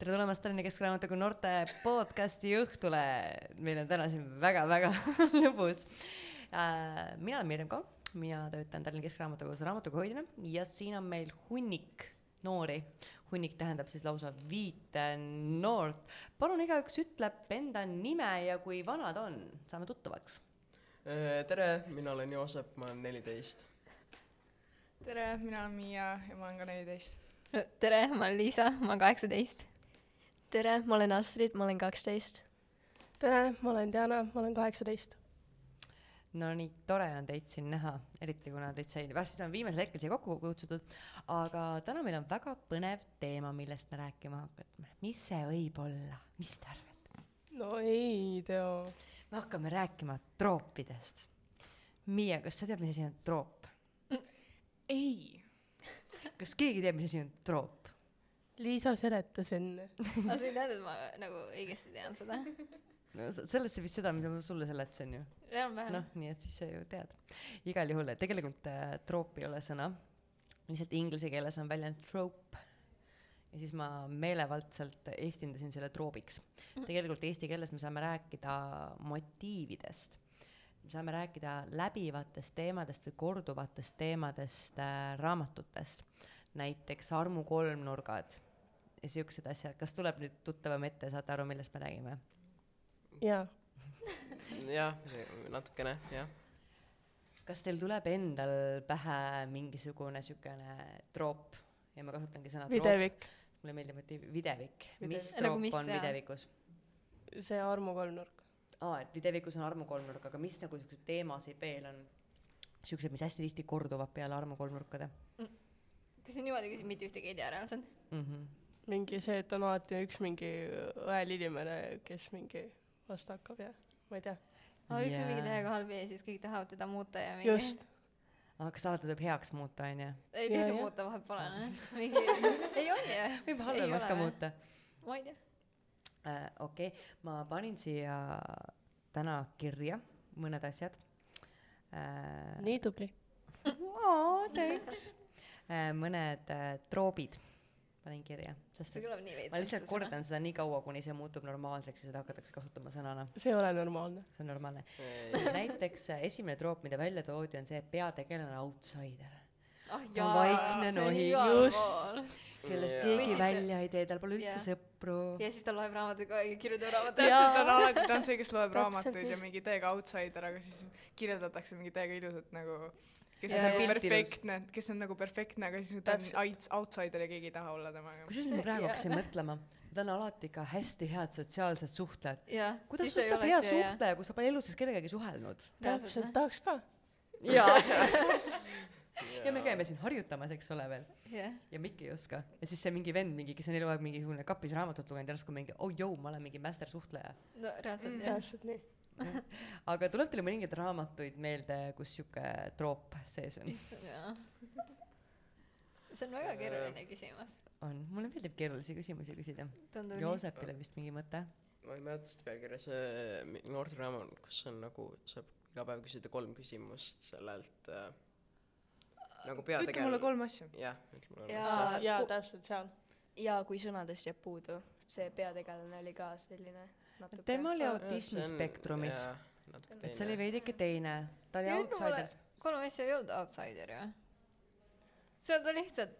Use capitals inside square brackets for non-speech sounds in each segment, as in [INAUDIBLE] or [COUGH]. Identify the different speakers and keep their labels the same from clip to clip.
Speaker 1: tere tulemast Tallinna Keskraamatukogu noorte podcasti õhtule. meil on täna siin väga-väga [LAUGHS] lõbus äh,. mina olen Mirjam Kalm, mina töötan Tallinna Keskraamatukogus raamatukoguhoidjana ja siin on meil hunnik noori. hunnik tähendab siis lausa viite noort. palun igaüks ütleb enda nime ja kui vana ta on, saame tuttavaks.
Speaker 2: Äh, tere , mina olen Joosep , ma olen neliteist .
Speaker 3: tere , mina olen Miia ja ma olen ka neliteist .
Speaker 4: tere , ma olen Liisa , ma olen kaheksateist .
Speaker 5: tere , ma olen Astrid , ma olen kaksteist .
Speaker 6: tere , ma olen Diana , ma olen kaheksateist .
Speaker 1: no nii tore on teid siin näha , eriti kuna teid sai värskelt on viimasel hetkel siia kokku kutsutud , aga täna meil on väga põnev teema , millest me rääkima hakkame . mis see võib olla , mis te arvate ?
Speaker 6: no ei tea .
Speaker 1: me hakkame rääkima troopidest . Miia , kas sa tead , mis asi on troop ?
Speaker 3: ei ,
Speaker 1: kas keegi teab , mis asi on troop ?
Speaker 6: Liisa seletas enne .
Speaker 4: aga see ei tähenda , et ma nagu õigesti tean seda .
Speaker 1: no s- sellesse vist seda , mida ma sulle seletasin ju .
Speaker 4: enam-vähem no.
Speaker 1: noh , nii et siis sa ju tead . igal juhul , tegelikult äh, troop ei ole sõna . lihtsalt inglise keeles on väljend trope . ja siis ma meelevaldselt eestindasin selle troobiks . tegelikult eesti keeles me saame rääkida motiividest . me saame rääkida läbivatest teemadest või korduvatest teemadest äh, raamatutes . näiteks armu kolmnurgad ja siuksed asjad . kas tuleb nüüd tuttavam ette , saate aru , millest me räägime ?
Speaker 6: jaa .
Speaker 2: jah , natukene jah .
Speaker 1: kas teil tuleb endal pähe mingisugune siukene troop ja ma kasutangi sõna troop ,
Speaker 6: videvik ,
Speaker 1: mulle meeldib motiiv , videvik,
Speaker 6: Videvik.
Speaker 1: mis
Speaker 4: Nagu
Speaker 1: troop
Speaker 4: mis
Speaker 1: on
Speaker 4: see on?
Speaker 1: videvikus ?
Speaker 6: see armu kolmnurk .
Speaker 1: aa , et videvikus on armukolmnurk , aga mis nagu siukseid teemasid veel on ? siuksed , mis hästi tihti korduvad peale armukolmnurkade
Speaker 4: kui sa niimoodi küsid , mitte ühtegi ei tea reaalselt .
Speaker 1: mm .
Speaker 4: Mhm.
Speaker 1: -hmm.
Speaker 6: mingi see , et on alati üks mingi õel inimene , kes mingi vastu hakkab ja ma ei tea .
Speaker 4: aga üks
Speaker 1: Jaa.
Speaker 4: on mingi täiega halb ja siis kõik tahavad teda muuta ja mingi .
Speaker 6: just ,
Speaker 1: aga kas alati tuleb heaks muuta , onju ?
Speaker 4: ei ,
Speaker 6: Jaa,
Speaker 4: lihtsalt
Speaker 6: jah.
Speaker 4: muuta vahet pole ,
Speaker 1: [LAUGHS]
Speaker 4: noh . mingi , ei on ju .
Speaker 1: võib halvemaks ka . muuta .
Speaker 4: ma ei tea .
Speaker 1: äh, . okei okay. , ma panin siia täna kirja mõned asjad äh, .
Speaker 6: nii tubli .
Speaker 1: [LAUGHS] aa , thanks äh, . mõned äh, troobid panin kirja , sest
Speaker 4: see
Speaker 1: et
Speaker 4: kõlab nii veidi .
Speaker 1: ma lihtsalt . kordan seda nii kaua , kuni see muutub normaalseks ja seda hakatakse kasutama sõnana ,
Speaker 6: see ei ole normaalne .
Speaker 1: see on [LAUGHS] normaalne . näiteks äh, esimene troop , mida välja toodi , on see et peategelane on outsider , Ta
Speaker 4: ah
Speaker 1: on
Speaker 4: jaa ,
Speaker 1: vaikne nohi, just.
Speaker 4: just .
Speaker 1: kellest
Speaker 2: Jaa.
Speaker 1: yeah.
Speaker 4: Või
Speaker 1: keegi
Speaker 4: siis-
Speaker 1: välja ei tee , tal pole üldse
Speaker 4: Jah.
Speaker 1: yeah. sõpru yeah. .
Speaker 4: ja siis ta loeb raamatuid kogu aeg ja kirjutab raamatuid .
Speaker 3: täpselt , ta on alati , ta on see , kes loeb
Speaker 6: Täpselt
Speaker 3: raamatuid
Speaker 6: nii.
Speaker 3: ja mingi täiega outsider , aga siis kirjeldatakse mingi täiega ilusat nagu , kes
Speaker 1: Jaa,
Speaker 3: on nagu
Speaker 1: jaa.
Speaker 3: perfektne , kes on nagu perfektne , aga siis ta on
Speaker 6: Täpselt.
Speaker 3: aits- outsider ja keegi ei taha olla temaga .
Speaker 1: kusjuures ma praegu
Speaker 4: Jah.
Speaker 1: hakkasin mõtlema , ta on alati ka hästi head sotsiaalsed suhtlejad .
Speaker 4: jah .
Speaker 1: kuidas sul saab hea ? suhtleja , kui sa pole elu sees kellegagi suhelnud ?
Speaker 6: täpselt , tahaks ka .
Speaker 4: noh.
Speaker 1: ja me käime siin harjutamas , eks ole veel .
Speaker 4: jah .
Speaker 1: ja Mikk ei oska . ja siis see mingi vend mingi , kes on eluaeg mingisugune kapis raamatut lugenud , järsku mingi oh joo , ma olen mingi master suhtleja .
Speaker 4: no reaalselt jah .
Speaker 6: täpselt nii .
Speaker 1: aga tuleb teile mõningaid raamatuid meelde , kus sihuke troop sees on ?
Speaker 4: issand jaa . see on väga keeruline küsimus .
Speaker 1: on , mulle meeldib keerulisi küsimusi küsida .
Speaker 4: tundub nii .
Speaker 1: Joosepil on vist mingi mõte .
Speaker 2: ma ei mäleta seda pealkirja , see äh, mi- noorteraamat , kus on nagu , saab iga päev küsida kolm küsimust sellelt äh, nagu
Speaker 3: ütle mulle
Speaker 2: peategelane .
Speaker 3: kolm asja .
Speaker 2: jah , ütle mulle
Speaker 5: Jaa.
Speaker 2: kolm
Speaker 5: Aga
Speaker 6: jaa
Speaker 5: ku- ,
Speaker 6: täpselt seal .
Speaker 5: ja kui sõnadest jääb puudu , see peategelane oli ka selline natuke .
Speaker 1: tema
Speaker 4: Ah,
Speaker 1: oli
Speaker 2: asja .
Speaker 1: autismi spektrumis ,
Speaker 2: natuke
Speaker 1: et see oli
Speaker 2: teine .
Speaker 1: veidike teine . ta oli
Speaker 4: Ja ütle mulle-
Speaker 1: outsider .
Speaker 4: kolm asja ei olnud outsider ju . see on ta lihtsalt ,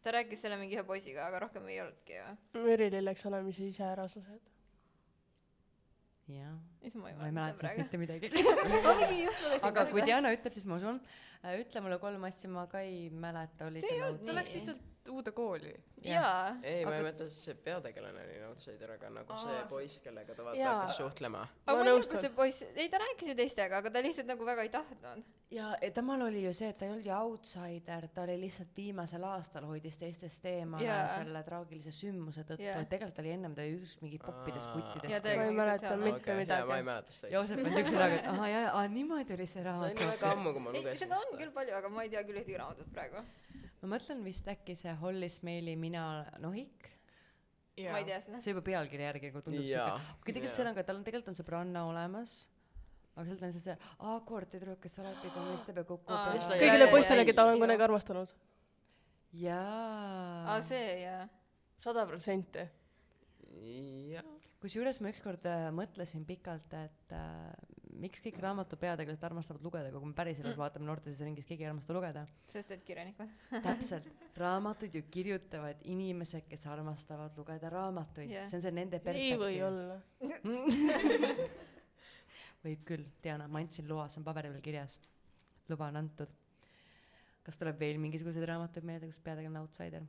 Speaker 4: ta rääkis selle mingi ühe poisiga , aga rohkem ei olnudki ju .
Speaker 6: Mürililleks olemise iseärasused .
Speaker 1: jah ,
Speaker 4: siis ma ei
Speaker 1: ma ei
Speaker 4: mäleta
Speaker 1: mäleta
Speaker 4: seda
Speaker 1: sellest
Speaker 4: praegu .
Speaker 1: mitte midagi .
Speaker 4: [LAUGHS] oligi just , nagu ma läksin
Speaker 1: aga kui . Diana ütleb , siis ma usun . ütle mulle kolm asja , ma ka ei mäleta , oli
Speaker 4: See ei olnud-
Speaker 3: ta läks
Speaker 4: Nii.
Speaker 3: lihtsalt uude kooli .
Speaker 4: jaa .
Speaker 2: ei , ma
Speaker 1: Aga-
Speaker 2: ei mäleta , et see peategelane oli outsider , aga nagu
Speaker 3: Aa,
Speaker 2: see
Speaker 3: see-
Speaker 2: poiss , kellega ta vaata
Speaker 6: Jaa.
Speaker 2: hakkas suhtlema .
Speaker 4: aga
Speaker 6: Ma
Speaker 4: ma ei tea ,
Speaker 6: nõustun.
Speaker 4: kas see poiss , ei ta rääkis ju teistega , aga ta lihtsalt nagu väga ei tahtnud .
Speaker 1: ja ja temal oli ju see , et ta ei olnud ju outsider , ta oli lihtsalt viimasel aastal hoidis teistest eemale yeah.
Speaker 4: Jaa.
Speaker 1: selle traagilise sündmuse tõttu
Speaker 4: Jaa.
Speaker 1: yeah. , et tegelikult oli ennem ta oli üks mingi poppides
Speaker 2: Aa.
Speaker 4: Ja
Speaker 1: kuttidest
Speaker 4: ta-
Speaker 6: ma ei
Speaker 4: mingi
Speaker 6: mäleta
Speaker 4: sotsiaalne-
Speaker 6: mitte
Speaker 2: ma ei
Speaker 6: midagi .
Speaker 2: mäleta seda .
Speaker 1: Joosep on siukse näoga , et ahah , jaa , niimoodi oli see
Speaker 2: see on ju
Speaker 1: raamat .
Speaker 2: väga ammu , kui ma
Speaker 4: ei ,
Speaker 2: lugesin
Speaker 4: seda on küll palju , aga ma ei tea küll ühtegi raamatut praegu .
Speaker 1: ma mõtlen vist äkki see Hollis Meili Mina nohik ,
Speaker 4: ma ei tea seda .
Speaker 1: see juba pealkirja järgi nagu tundub
Speaker 2: Jaa,
Speaker 1: siuke , aga
Speaker 2: jaa.
Speaker 1: tegelikult seal on ka , tal on , tegelikult on sõbranna olemas , aga sealt on see see , aa , koer tüdruk , kes
Speaker 4: [GASPS]
Speaker 1: alati ka meeste peal
Speaker 4: Aa,
Speaker 1: kukub
Speaker 4: jaa,
Speaker 1: ja
Speaker 6: kõigile
Speaker 4: jaa,
Speaker 6: poistele ,
Speaker 4: jaa,
Speaker 6: keda olen
Speaker 4: jaa.
Speaker 6: kunagi armastanud .
Speaker 1: jaa
Speaker 4: aa ,. see jaa .
Speaker 6: sada protsenti .
Speaker 2: jah ,
Speaker 1: kusjuures ma ükskord äh, mõtlesin pikalt , et äh, miks kõik raamatu peategelased armastavad lugeda , kui me päriselus mm. vaatame noortes ringis , keegi ei armasta lugeda .
Speaker 4: sest et kirjanikud .
Speaker 1: täpselt , raamatuid ju kirjutavad inimesed , kes armastavad lugeda raamatuid
Speaker 4: Jah.
Speaker 1: yeah. , see on see nende
Speaker 6: ei või
Speaker 1: perspektiiv .
Speaker 6: olla .
Speaker 1: võib küll , Diana , ma andsin loa , see on paberi peal kirjas . luba on antud . kas tuleb veel mingisuguseid raamatuid meelde , kus peategelane on outsider ?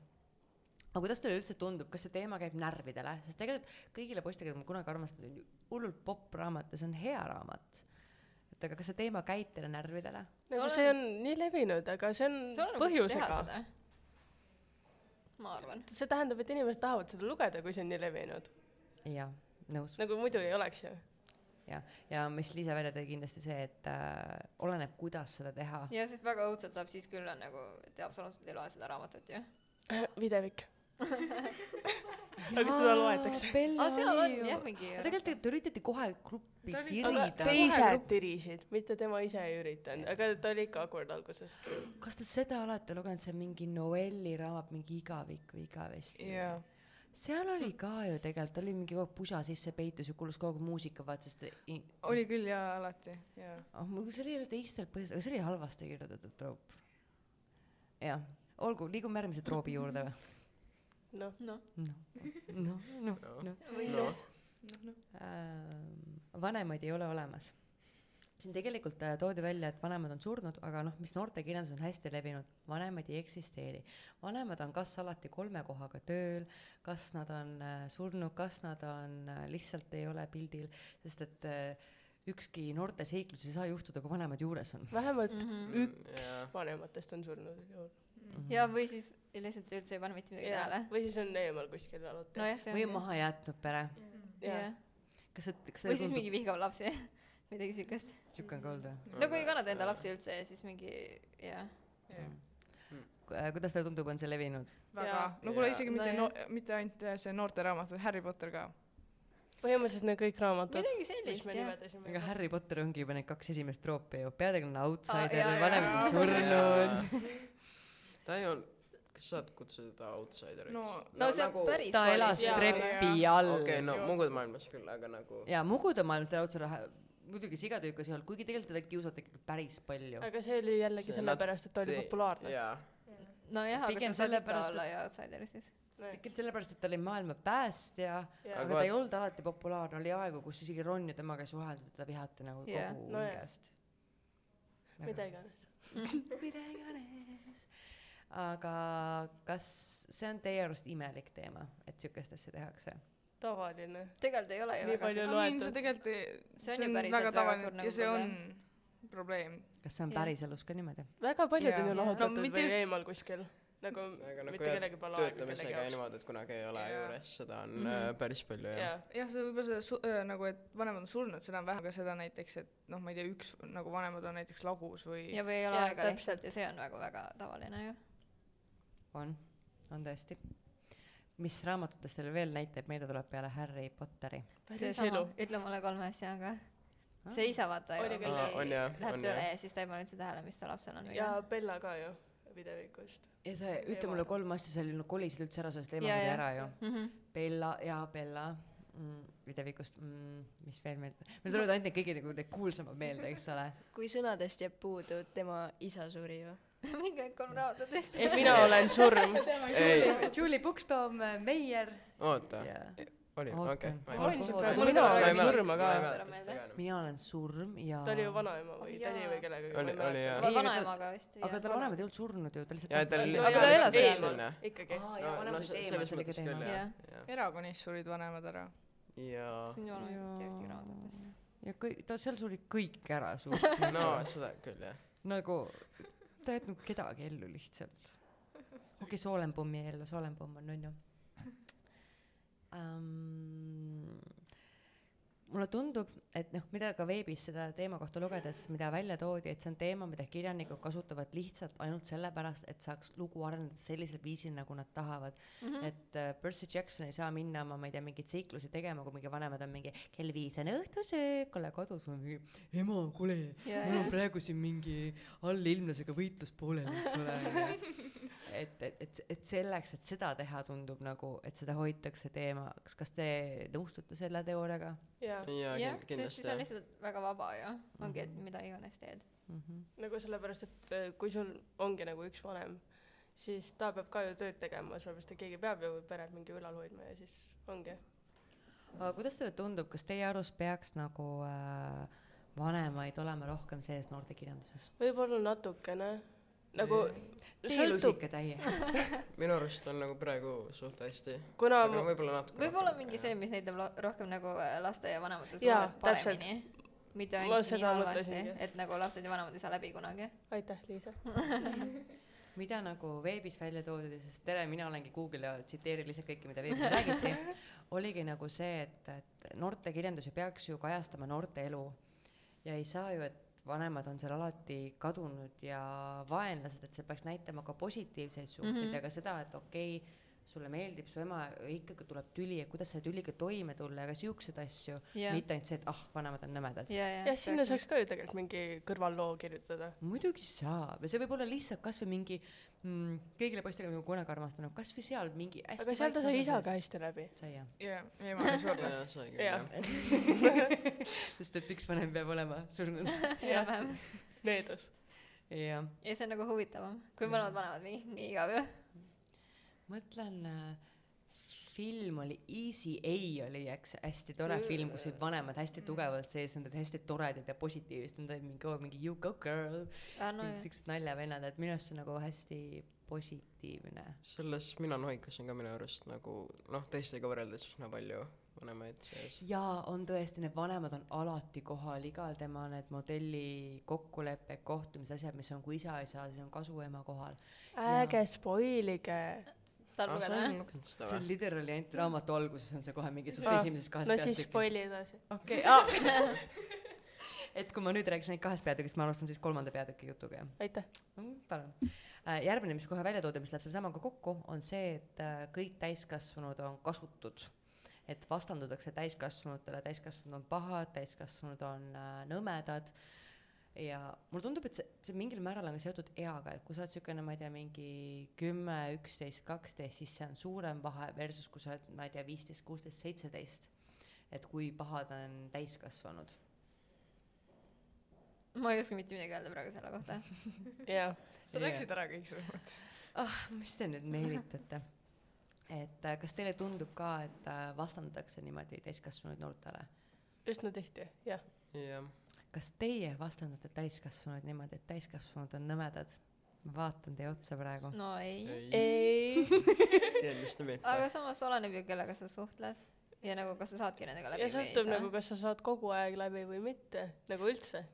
Speaker 1: aga kuidas teile üldse tundub , kas see teema käib närvidele , sest tegelikult kõigile poistele , keda ma kunagi armastasin , oli hullult popp raamat ja see on hea raamat . et aga kas see teema käib teile närvidele ?
Speaker 6: nagu
Speaker 4: Sul
Speaker 6: see
Speaker 4: on-
Speaker 6: on nii levinud , aga see on
Speaker 4: sul on nagu teha
Speaker 6: põhjusega .
Speaker 4: seda . ma arvan .
Speaker 6: see tähendab , et inimesed tahavad seda lugeda , kui see on nii levinud .
Speaker 1: jah , nõus .
Speaker 6: nagu muidu ei oleks ju .
Speaker 1: ja mis Liisa välja tõi kindlasti see , et äh, oleneb , kuidas seda teha .
Speaker 4: ja siis väga õudselt saab siis küll on nagu , et absoluutselt ei loe seda raamatut ju .
Speaker 6: videvik . aga seda loetakse .
Speaker 4: aa , Ah, seal on jah . mingi .
Speaker 1: aga tegelikult te üritati kohe gruppi
Speaker 3: Ta oli-
Speaker 6: aga
Speaker 1: kirida .
Speaker 6: teised tirisid , mitte tema ise ei üritanud , aga ta oli ikka akord alguses .
Speaker 1: kas te seda olete lugenud , see mingi Noelli raamat , mingi igavik või igavesti ?
Speaker 3: jaa .
Speaker 1: seal oli ka ju tegelikult , oli mingi kogu aeg pusa sisse peitus ja kuulus kogu aeg muusika , vaata sest in... .
Speaker 3: oli küll jaa , alati jaa .
Speaker 1: oh, . see oli jälle teistel põhjustel , aga see oli halvasti kirjutatud troop . jah , olgu , liigume järgmise troobi juurde
Speaker 3: [LAUGHS]
Speaker 1: või ?
Speaker 6: noh ,
Speaker 4: noh ,
Speaker 1: noh , noh , noh , noh .
Speaker 2: noh ,
Speaker 1: Ähm, vanemaid ei ole olemas . siin tegelikult äh, toodi välja , et vanemad on surnud , aga noh , mis noortekirjanduses on hästi levinud , vanemaid ei eksisteeri . vanemad on kas alati kolme kohaga tööl , kas nad on äh, surnud , kas nad on äh, lihtsalt ei ole pildil , seiklus et äh, ükski noorteseiklus ei saa juhtuda , kui vanemad juures on .
Speaker 6: vähemalt
Speaker 2: Mm,
Speaker 4: Mhm.
Speaker 6: üks
Speaker 2: jah ,
Speaker 6: vanematest on surnud juhul .
Speaker 1: Mhm.
Speaker 4: ja või siis lihtsalt üldse ei pane mitte midagi tähele .
Speaker 6: või siis on eemal kuskil alati .
Speaker 4: nojah , see
Speaker 1: või
Speaker 4: on .
Speaker 1: maha jäetud pere .
Speaker 6: jah
Speaker 4: jah .,
Speaker 1: kas see , kas see
Speaker 4: või siis mingi vihkav laps ja [LAUGHS] midagi siukest .
Speaker 1: sihuke on ka olnud või ?
Speaker 4: no kui Nagu ei kannata enda
Speaker 2: Jaa.
Speaker 4: lapsi üldse ja siis mingi jah .
Speaker 1: Mm. kuidas teile tundub , on see levinud ?
Speaker 3: väga
Speaker 6: Jaa. .
Speaker 3: no kuule ,
Speaker 2: Jaa.
Speaker 3: isegi mitte
Speaker 4: No
Speaker 3: no, , mitte ainult äh, see noorteraamat , vaid Harry Potter ka .
Speaker 6: põhimõtteliselt need kõik raamatud ,
Speaker 4: midagi
Speaker 6: mis
Speaker 4: sellist
Speaker 6: me
Speaker 4: jah .
Speaker 6: nimetasime .
Speaker 1: aga Harry Potter ongi juba need kaks esimest troopi ju , peategelane outsider
Speaker 4: jaa,
Speaker 1: oh, ,
Speaker 4: jaa.
Speaker 1: vanemad on
Speaker 4: [LAUGHS]
Speaker 1: surnud .
Speaker 2: ta ei olnud , kas sa saad kutsuda teda outsideriks ?
Speaker 3: no
Speaker 4: no see on . päris .
Speaker 1: nagu ta elas
Speaker 6: Jaa,
Speaker 1: trepi
Speaker 3: jaa.
Speaker 1: all
Speaker 2: okei okay, , no Mugud maailmas küll , aga nagu
Speaker 1: ja Mugude maailmas teda otse raha , muidugi sigatüükas ei olnud , kuigi tegelikult teda kiusati ikkagi päris palju .
Speaker 6: aga see oli jällegi
Speaker 2: See nat-
Speaker 6: sellepärast , et ta oli
Speaker 2: see-
Speaker 6: populaarne .
Speaker 2: jaa ,
Speaker 4: nojah , aga
Speaker 1: Pigem
Speaker 4: sa saad ikka
Speaker 1: sellepärast,
Speaker 4: olla ja outsider siis .
Speaker 1: ikka sellepärast , et ta oli maailma päästja ,
Speaker 6: Jaa.
Speaker 1: aga
Speaker 2: Aga-
Speaker 1: ta ei olnud alati populaarne , oli aegu , kus isegi Ron ja temaga ei suheldud , teda vihati nagu
Speaker 4: Jah.
Speaker 1: kogu
Speaker 6: Nojah.
Speaker 1: hingest .
Speaker 6: mida iganes .
Speaker 1: mida iganes . aga kas see on teie arust imelik teema , et sihukest asja tehakse ?
Speaker 6: tavaline .
Speaker 4: tegelikult ei ole ju
Speaker 6: Nii
Speaker 4: väga
Speaker 6: palju
Speaker 4: siis .
Speaker 3: I mean,
Speaker 6: loetud.
Speaker 3: see tegelikult ei ,
Speaker 4: See on
Speaker 3: see
Speaker 4: ju
Speaker 3: on
Speaker 4: päriselt
Speaker 3: väga
Speaker 4: väga suur
Speaker 3: tavaline
Speaker 4: nagu
Speaker 3: ja see on
Speaker 4: probleem.
Speaker 3: probleem .
Speaker 1: kas see on
Speaker 4: Jah.
Speaker 1: päriselus ka niimoodi ?
Speaker 6: väga paljud
Speaker 3: Jaa.
Speaker 6: on ju
Speaker 4: Jaa.
Speaker 6: lahutatud
Speaker 3: No
Speaker 6: no,
Speaker 3: mitte
Speaker 6: või
Speaker 3: just-
Speaker 6: eemal kuskil . nagu
Speaker 2: aga nagu
Speaker 6: mitte
Speaker 2: jah,
Speaker 6: kellegi pole aega kellegi
Speaker 2: töötamisega ja
Speaker 6: jaoks .
Speaker 2: niimoodi , et kunagi ei ole
Speaker 3: Jaa.
Speaker 2: juures , seda on
Speaker 4: Mhm.
Speaker 2: äh, päris palju jah .
Speaker 6: jaa ,
Speaker 3: jah , see võib-olla see su- , äh, nagu , et vanemad on surnud , seda on vähe , aga seda näiteks , et noh , ma ei tea , üks nagu vanemad on näiteks lahus või
Speaker 4: ja või ei ole
Speaker 6: Jaa,
Speaker 4: aega
Speaker 6: täpselt.
Speaker 4: lihtsalt ja see on väga-väga tavaline ju .
Speaker 1: on , on tõesti . mis raamatutest teil veel näiteid meelde tuleb peale Harry Potteri ?
Speaker 6: päris
Speaker 4: seesama
Speaker 6: elu .,
Speaker 4: ütle mulle kolme asja , aga see isa vaata ju
Speaker 6: Oli küll,
Speaker 2: Aa,
Speaker 4: mingi-
Speaker 2: Ah. on jah,
Speaker 4: läheb
Speaker 2: on
Speaker 4: tööle
Speaker 2: jah.
Speaker 4: ja siis ta ei pane üldse tähele , mis ta lapsel on või
Speaker 6: ja
Speaker 4: on .
Speaker 6: Bella ka ju
Speaker 3: [LAUGHS]
Speaker 6: videvikust .
Speaker 1: ja see , ütle mulle kolm asja , see oli , no koli seal üldse ära , sellest
Speaker 4: Jaa,
Speaker 1: leimati
Speaker 4: jaa.
Speaker 1: ära ju .
Speaker 4: Mhm. [LAUGHS]
Speaker 1: Bella , jaa , Bella mm, , videvikust mm, , mis veel meelde , meil tulevad ainult need kõige nagu need kuulsamad meelde , eks ole .
Speaker 5: kui sõnadest jääb puudu , tema isa suri ju .
Speaker 4: mingi ainult kolm raamatut tõesti .
Speaker 6: et mina olen surm .
Speaker 2: ei ,
Speaker 1: Julie Puksbaum , Meier
Speaker 2: oota ,
Speaker 1: ja
Speaker 2: oli ,
Speaker 1: Oota.
Speaker 2: okei .
Speaker 1: Mul oli siuke- Mul
Speaker 6: mina
Speaker 4: oli
Speaker 6: olen
Speaker 4: ka-
Speaker 6: surm , aga
Speaker 4: mäleta.
Speaker 1: mina olen surm ja
Speaker 6: ta oli ju vanaema või
Speaker 4: Oh,
Speaker 6: tädi
Speaker 4: jaa.
Speaker 6: või kellegagi .
Speaker 2: Oli- oli, jah.
Speaker 1: Ei, aga ta-
Speaker 4: vanaemaga vist .
Speaker 1: aga tal vanemad ei olnud surnud ju , ta lihtsalt
Speaker 2: jaa , ta
Speaker 1: tahtis-
Speaker 2: oli
Speaker 4: Aga ta elas eemal.
Speaker 2: eemal .
Speaker 6: nagu ikkagi .
Speaker 1: aa jaa , vanemad olid eemal , see oli ka teema .
Speaker 4: jah.
Speaker 2: jah .
Speaker 3: erakonnis surid vanemad ära .
Speaker 2: jaa ,
Speaker 4: siin ei ole ühtegi
Speaker 1: Jaa.
Speaker 4: raamatutest .
Speaker 1: ja kõik , ta seal suri kõik ära suur
Speaker 2: no seda küll jah .
Speaker 1: nagu ta ei jätnud kedagi ellu lihtsalt okei okay, Soolenpommi ellu Soolenpomm on onju um, mulle tundub et noh mida ka veebis seda teema kohta lugedes mida välja toodi et see on teema mida kirjanikud kasutavad lihtsalt ainult sellepärast et saaks lugu arendada sellisel viisil nagu nad tahavad mm -hmm. et äh, Percy Jackson ei saa minna oma ma ei tea mingeid seiklusi tegema kui mingi vanemad on mingi kell viis on õhtusöök ole kodus või mingi ema kuule
Speaker 4: ja ,
Speaker 1: mul
Speaker 4: ja
Speaker 1: on praegu siin mingi allilmlasega võitlus pooleli , eks ole . et , et , et , et selleks , et seda teha , tundub nagu , et seda hoitakse teemaks , kas te nõustute selle teooriaga
Speaker 6: jaa ,
Speaker 2: jaa
Speaker 4: jah ,
Speaker 2: kin-
Speaker 4: sest siis
Speaker 2: kindlasti
Speaker 4: on
Speaker 2: jah .
Speaker 4: lihtsalt väga vaba ju , ongi , et mida iganes teed .
Speaker 1: mm ? -hmm.
Speaker 6: nagu sellepärast , et äh, kui sul ongi nagu üks vanem , siis ta peab ka ju tööd tegema , sellepärast et keegi peab ju peret mingi ülal hoidma ja siis ongi .
Speaker 1: aga kuidas teile tundub , kas teie arust peaks nagu äh, vanemaid olema rohkem sees noortekirjanduses ?
Speaker 6: võib-olla natukene nagu sõltub ,
Speaker 1: teelusikatäie .
Speaker 2: minu arust on nagu praegu suht hästi .
Speaker 6: kuna
Speaker 2: aga
Speaker 6: ma
Speaker 2: no võib-olla natuke .
Speaker 4: võib-olla mingi see , mis näitab lo- rohkem nagu äh, laste ja vanemate
Speaker 6: Jaa,
Speaker 4: suhet paremini . mitte
Speaker 6: Ma
Speaker 4: ainult nii
Speaker 6: seda
Speaker 4: halvasti
Speaker 6: mõtlesingi. ,
Speaker 4: et nagu lapsed ja vanemad ei saa läbi kunagi .
Speaker 6: aitäh , Liisa .
Speaker 1: mida nagu veebis välja toodi , sest tere , mina olengi Google ja tsiteerin lihtsalt kõike , mida veebis
Speaker 4: [LAUGHS]
Speaker 1: räägiti , oligi nagu see , et , et noortekirjandus ju peaks ju kajastama noorte elu ja ei saa ju , et vanemad on seal alati kadunud ja vaenlased , et see peaks näitama ka positiivseid suhteid mm
Speaker 4: Mhm.
Speaker 1: -hmm. ja ka seda , et okei okay, , sulle meeldib su ema , ikkagi tuleb tüli ja kuidas selle tüliga toime tulla ja ka siukseid asju yeah. ,
Speaker 4: ja ,
Speaker 1: mitte ainult see , et ah , vanemad on nõmedad .
Speaker 4: ja , ja .
Speaker 6: jah , sinna saaks ka ju tegelikult mingi kõrvalloo kirjutada .
Speaker 1: muidugi saab ja see võib olla lihtsalt kasvõi mingi mm, , kõigile poistele nagu kunagi armastanud , kasvõi seal mingi hästi
Speaker 6: aga seal ta sai
Speaker 1: vaikne osa
Speaker 6: isaga hästi [LAUGHS] läbi .
Speaker 1: sees. sai jah ,
Speaker 3: ja ema oli surnud .
Speaker 2: jaa , sai küll
Speaker 6: Jaa.
Speaker 2: jah .
Speaker 1: sest et üks vanem peab olema
Speaker 6: [LAUGHS]
Speaker 1: surnud .
Speaker 4: enam-vähem .
Speaker 6: Leedus .
Speaker 1: jah ,
Speaker 4: ja see on nagu huvitavam , kui mõlemad vanemad mingi , nii igav ju .
Speaker 1: mõtlen äh, film oli Easy A oli üks hästi tore film , kus olid vanemad
Speaker 6: Mm.
Speaker 1: hästi tugevalt sees , nad olid hästi toredad ja positiivsed , nad olid mingi oh, , mingi you go girl
Speaker 4: aa ,
Speaker 1: no,
Speaker 4: Ah, no , jah .
Speaker 1: siuksed naljavennad , et minu arust see on nagu hästi positiivne .
Speaker 2: selles Mina nohikas on ka minu arust nagu noh , teistega võrreldes üsna palju vanemaid sees .
Speaker 1: jaa , on tõesti , need vanemad on alati kohal , igal tema need modelli kokkulepped , kohtumised , asjad , mis on , kui isa ei saa , siis on kasuema kohal .
Speaker 6: ärge spoilige .
Speaker 4: tahad
Speaker 2: sa
Speaker 4: lugeda
Speaker 2: ei
Speaker 4: või ?
Speaker 2: lugenud seda
Speaker 1: see on
Speaker 2: või ?
Speaker 1: literally ainult raamatu alguses on see kohe mingi suht
Speaker 6: Aa,
Speaker 1: esimeses kahes
Speaker 6: no siis
Speaker 1: peatükis .
Speaker 6: spoili edasi .
Speaker 1: okei , aa . [LAUGHS] et kui ma nüüd rääkisin ainult kahest peatükist , ma alustan siis kolmanda peatüki jutuga , jah
Speaker 6: aitäh .
Speaker 1: mm, . palun . järgmine , mis kohe välja toodi , mis läheb selle samaga kokku , on see , et äh, kõik täiskasvanud on kasutud . et vastandutakse täiskasvanutele , täiskasvanud on pahad , täiskasvanud on äh, nõmedad ja mulle tundub , et see , see mingil määral on ka seotud eaga , et kui sa oled niisugune , ma ei tea , mingi kümme , üksteist , kaksteist , siis see on suurem vahe versus kui sa oled , ma ei tea , viisteist , kuusteist , seitseteist . et kui pahad on täiskasvanud .
Speaker 4: ma ei oska mitte midagi öelda praegu selle kohta .
Speaker 6: jah ,
Speaker 3: sa läksid ära kõik selles mõttes .
Speaker 1: ah , mis te nüüd meelitate ? et äh, kas teile tundub ka , et äh, vastandatakse niimoodi täiskasvanuid noortele ?
Speaker 6: üsna tihti , jah .
Speaker 2: jah .
Speaker 1: kas teie vastandate täiskasvanuid niimoodi , et täiskasvanud on nõmedad ? ma vaatan teie otsa praegu .
Speaker 4: no ei .
Speaker 2: ei ,
Speaker 6: ei ,
Speaker 2: kindlasti mitte .
Speaker 4: aga samas oleneb ju , kellega sa suhtled ja nagu , kas sa saadki nendega
Speaker 6: ja
Speaker 4: läbi või ei
Speaker 6: sõltub nagu ,
Speaker 4: saa .
Speaker 6: kas sa saad kogu aeg läbi või mitte , nagu üldse .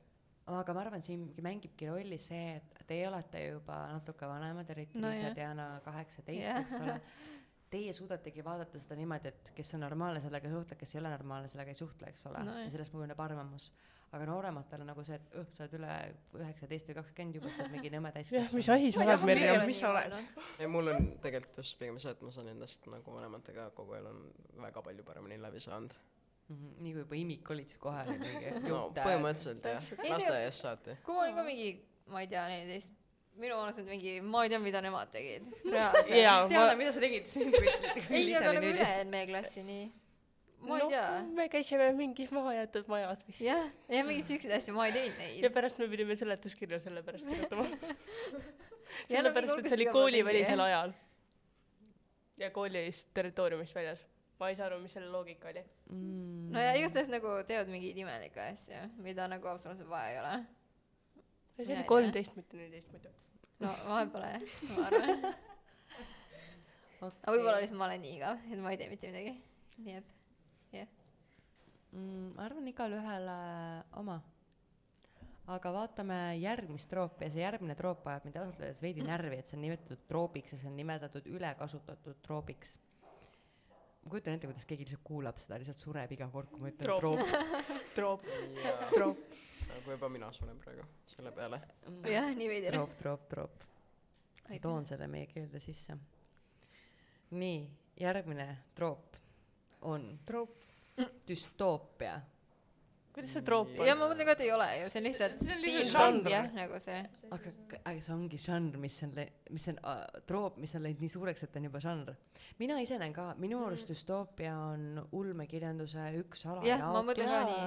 Speaker 1: aga ma arvan , siingi mängibki rolli see , et teie olete juba natuke vanemad , eriti
Speaker 4: No
Speaker 1: no Liisa
Speaker 4: jah.
Speaker 1: Diana kaheksateist ,
Speaker 4: Jah.
Speaker 1: eks ole . Teie suudategi vaadata seda niimoodi , et kes on normaalne , sellega suhtleb , kes ei ole normaalne , sellega ei suhtle , eks ole
Speaker 4: No
Speaker 1: no .
Speaker 4: jah.
Speaker 1: ja sellest kujuneb arvamus . aga noorematel on nagu see , et õh , sa oled üle üheksateist või kakskümmend juba , sa oled mingi nõme
Speaker 6: jah ,
Speaker 1: täiskasvanu .
Speaker 6: mis asi sa oled , Merje ?
Speaker 3: mis sa oled? ?
Speaker 2: ei , mul on tegelikult just pigem see , et ma saan endast nagu vanematega kogu elu on väga palju paremini läbi saanud .
Speaker 1: Mhm, nii kui juba imik olid , siis kohe oli mingi
Speaker 2: no põhimõtteliselt jah ,
Speaker 4: Ei,
Speaker 2: lasteaiast saati .
Speaker 4: kui ma olin ka mingi , ma ei tea , neliteist , minu vanused mingi , ma ei tea , mida nemad tegid .
Speaker 6: jaa , ma
Speaker 1: Diana , mida sa tegid siin , kui kui
Speaker 4: ei ,
Speaker 1: Liisa
Speaker 4: aga
Speaker 1: oli
Speaker 4: nagu
Speaker 1: neliteist ?
Speaker 4: ülejäänud meie klassi , nii . ma ei tea .
Speaker 6: me käisime mingis mahajäetud majas vist ja.
Speaker 4: jah , ja mingeid siukseid asju ma ei teinud neid
Speaker 6: ja . pärast me pidime seletuskirja selle pärast
Speaker 4: [LAUGHS]
Speaker 6: kirjutama . [LAUGHS]
Speaker 4: Ja no mingi
Speaker 6: sellepärast , et
Speaker 4: hulgas
Speaker 6: see oli
Speaker 4: iga kord
Speaker 6: koolivälisel
Speaker 4: tegi,
Speaker 6: ajal . ja koolist territooriumist väljas . ma ei saa aru , mis selle loogika oli .
Speaker 4: no ja igastahes nagu teevad mingeid imelikke asju , mida nagu absoluutselt vaja ei ole .
Speaker 6: see
Speaker 4: Mina ei
Speaker 6: oli
Speaker 4: tea.
Speaker 6: kolmteist , mitte neliteist muidu .
Speaker 4: no vahet pole , ma arvan . [LAUGHS] aga võib-olla lihtsalt ma olen nii igav , et ma ei tee mitte midagi . nii et
Speaker 1: mm, . ma arvan , igalühel äh, oma . aga vaatame järgmist troopi ja see järgmine troop ajab mind ausalt öeldes veidi närvi , et see on nimetatud troobiks ja see on nimetatud ülekasutatud troobiks . ma kujutan ette , kuidas keegi lihtsalt kuulab seda , lihtsalt sureb iga kord , kui ma ütlen
Speaker 6: Troop.
Speaker 1: troop, troop. .
Speaker 6: troop ,
Speaker 2: jaa ,
Speaker 6: troop .
Speaker 2: nagu juba mina suren praegu selle peale .
Speaker 4: jah , nii veidi .
Speaker 1: troop , troop , troop . ma toon selle meie keelde sisse . nii , järgmine troop on
Speaker 6: Troop.
Speaker 1: düstoopia .
Speaker 6: kuidas see troop
Speaker 2: Jah.
Speaker 6: on ?
Speaker 4: ja ma mõtlen ka , et ei ole ju , see on lihtsalt
Speaker 3: See on lihtsalt
Speaker 4: steampunk
Speaker 6: žanr.
Speaker 4: jah , nagu see .
Speaker 1: aga , aga see ongi žanr , mis on , mis on äh, troop , mis on läinud nii suureks , et on juba žanr . mina ise näen ka , minu
Speaker 4: Mhm.
Speaker 1: arust düstoopia on ulmekirjanduse üks ala .
Speaker 4: jah , ma mõtlen ka nii ,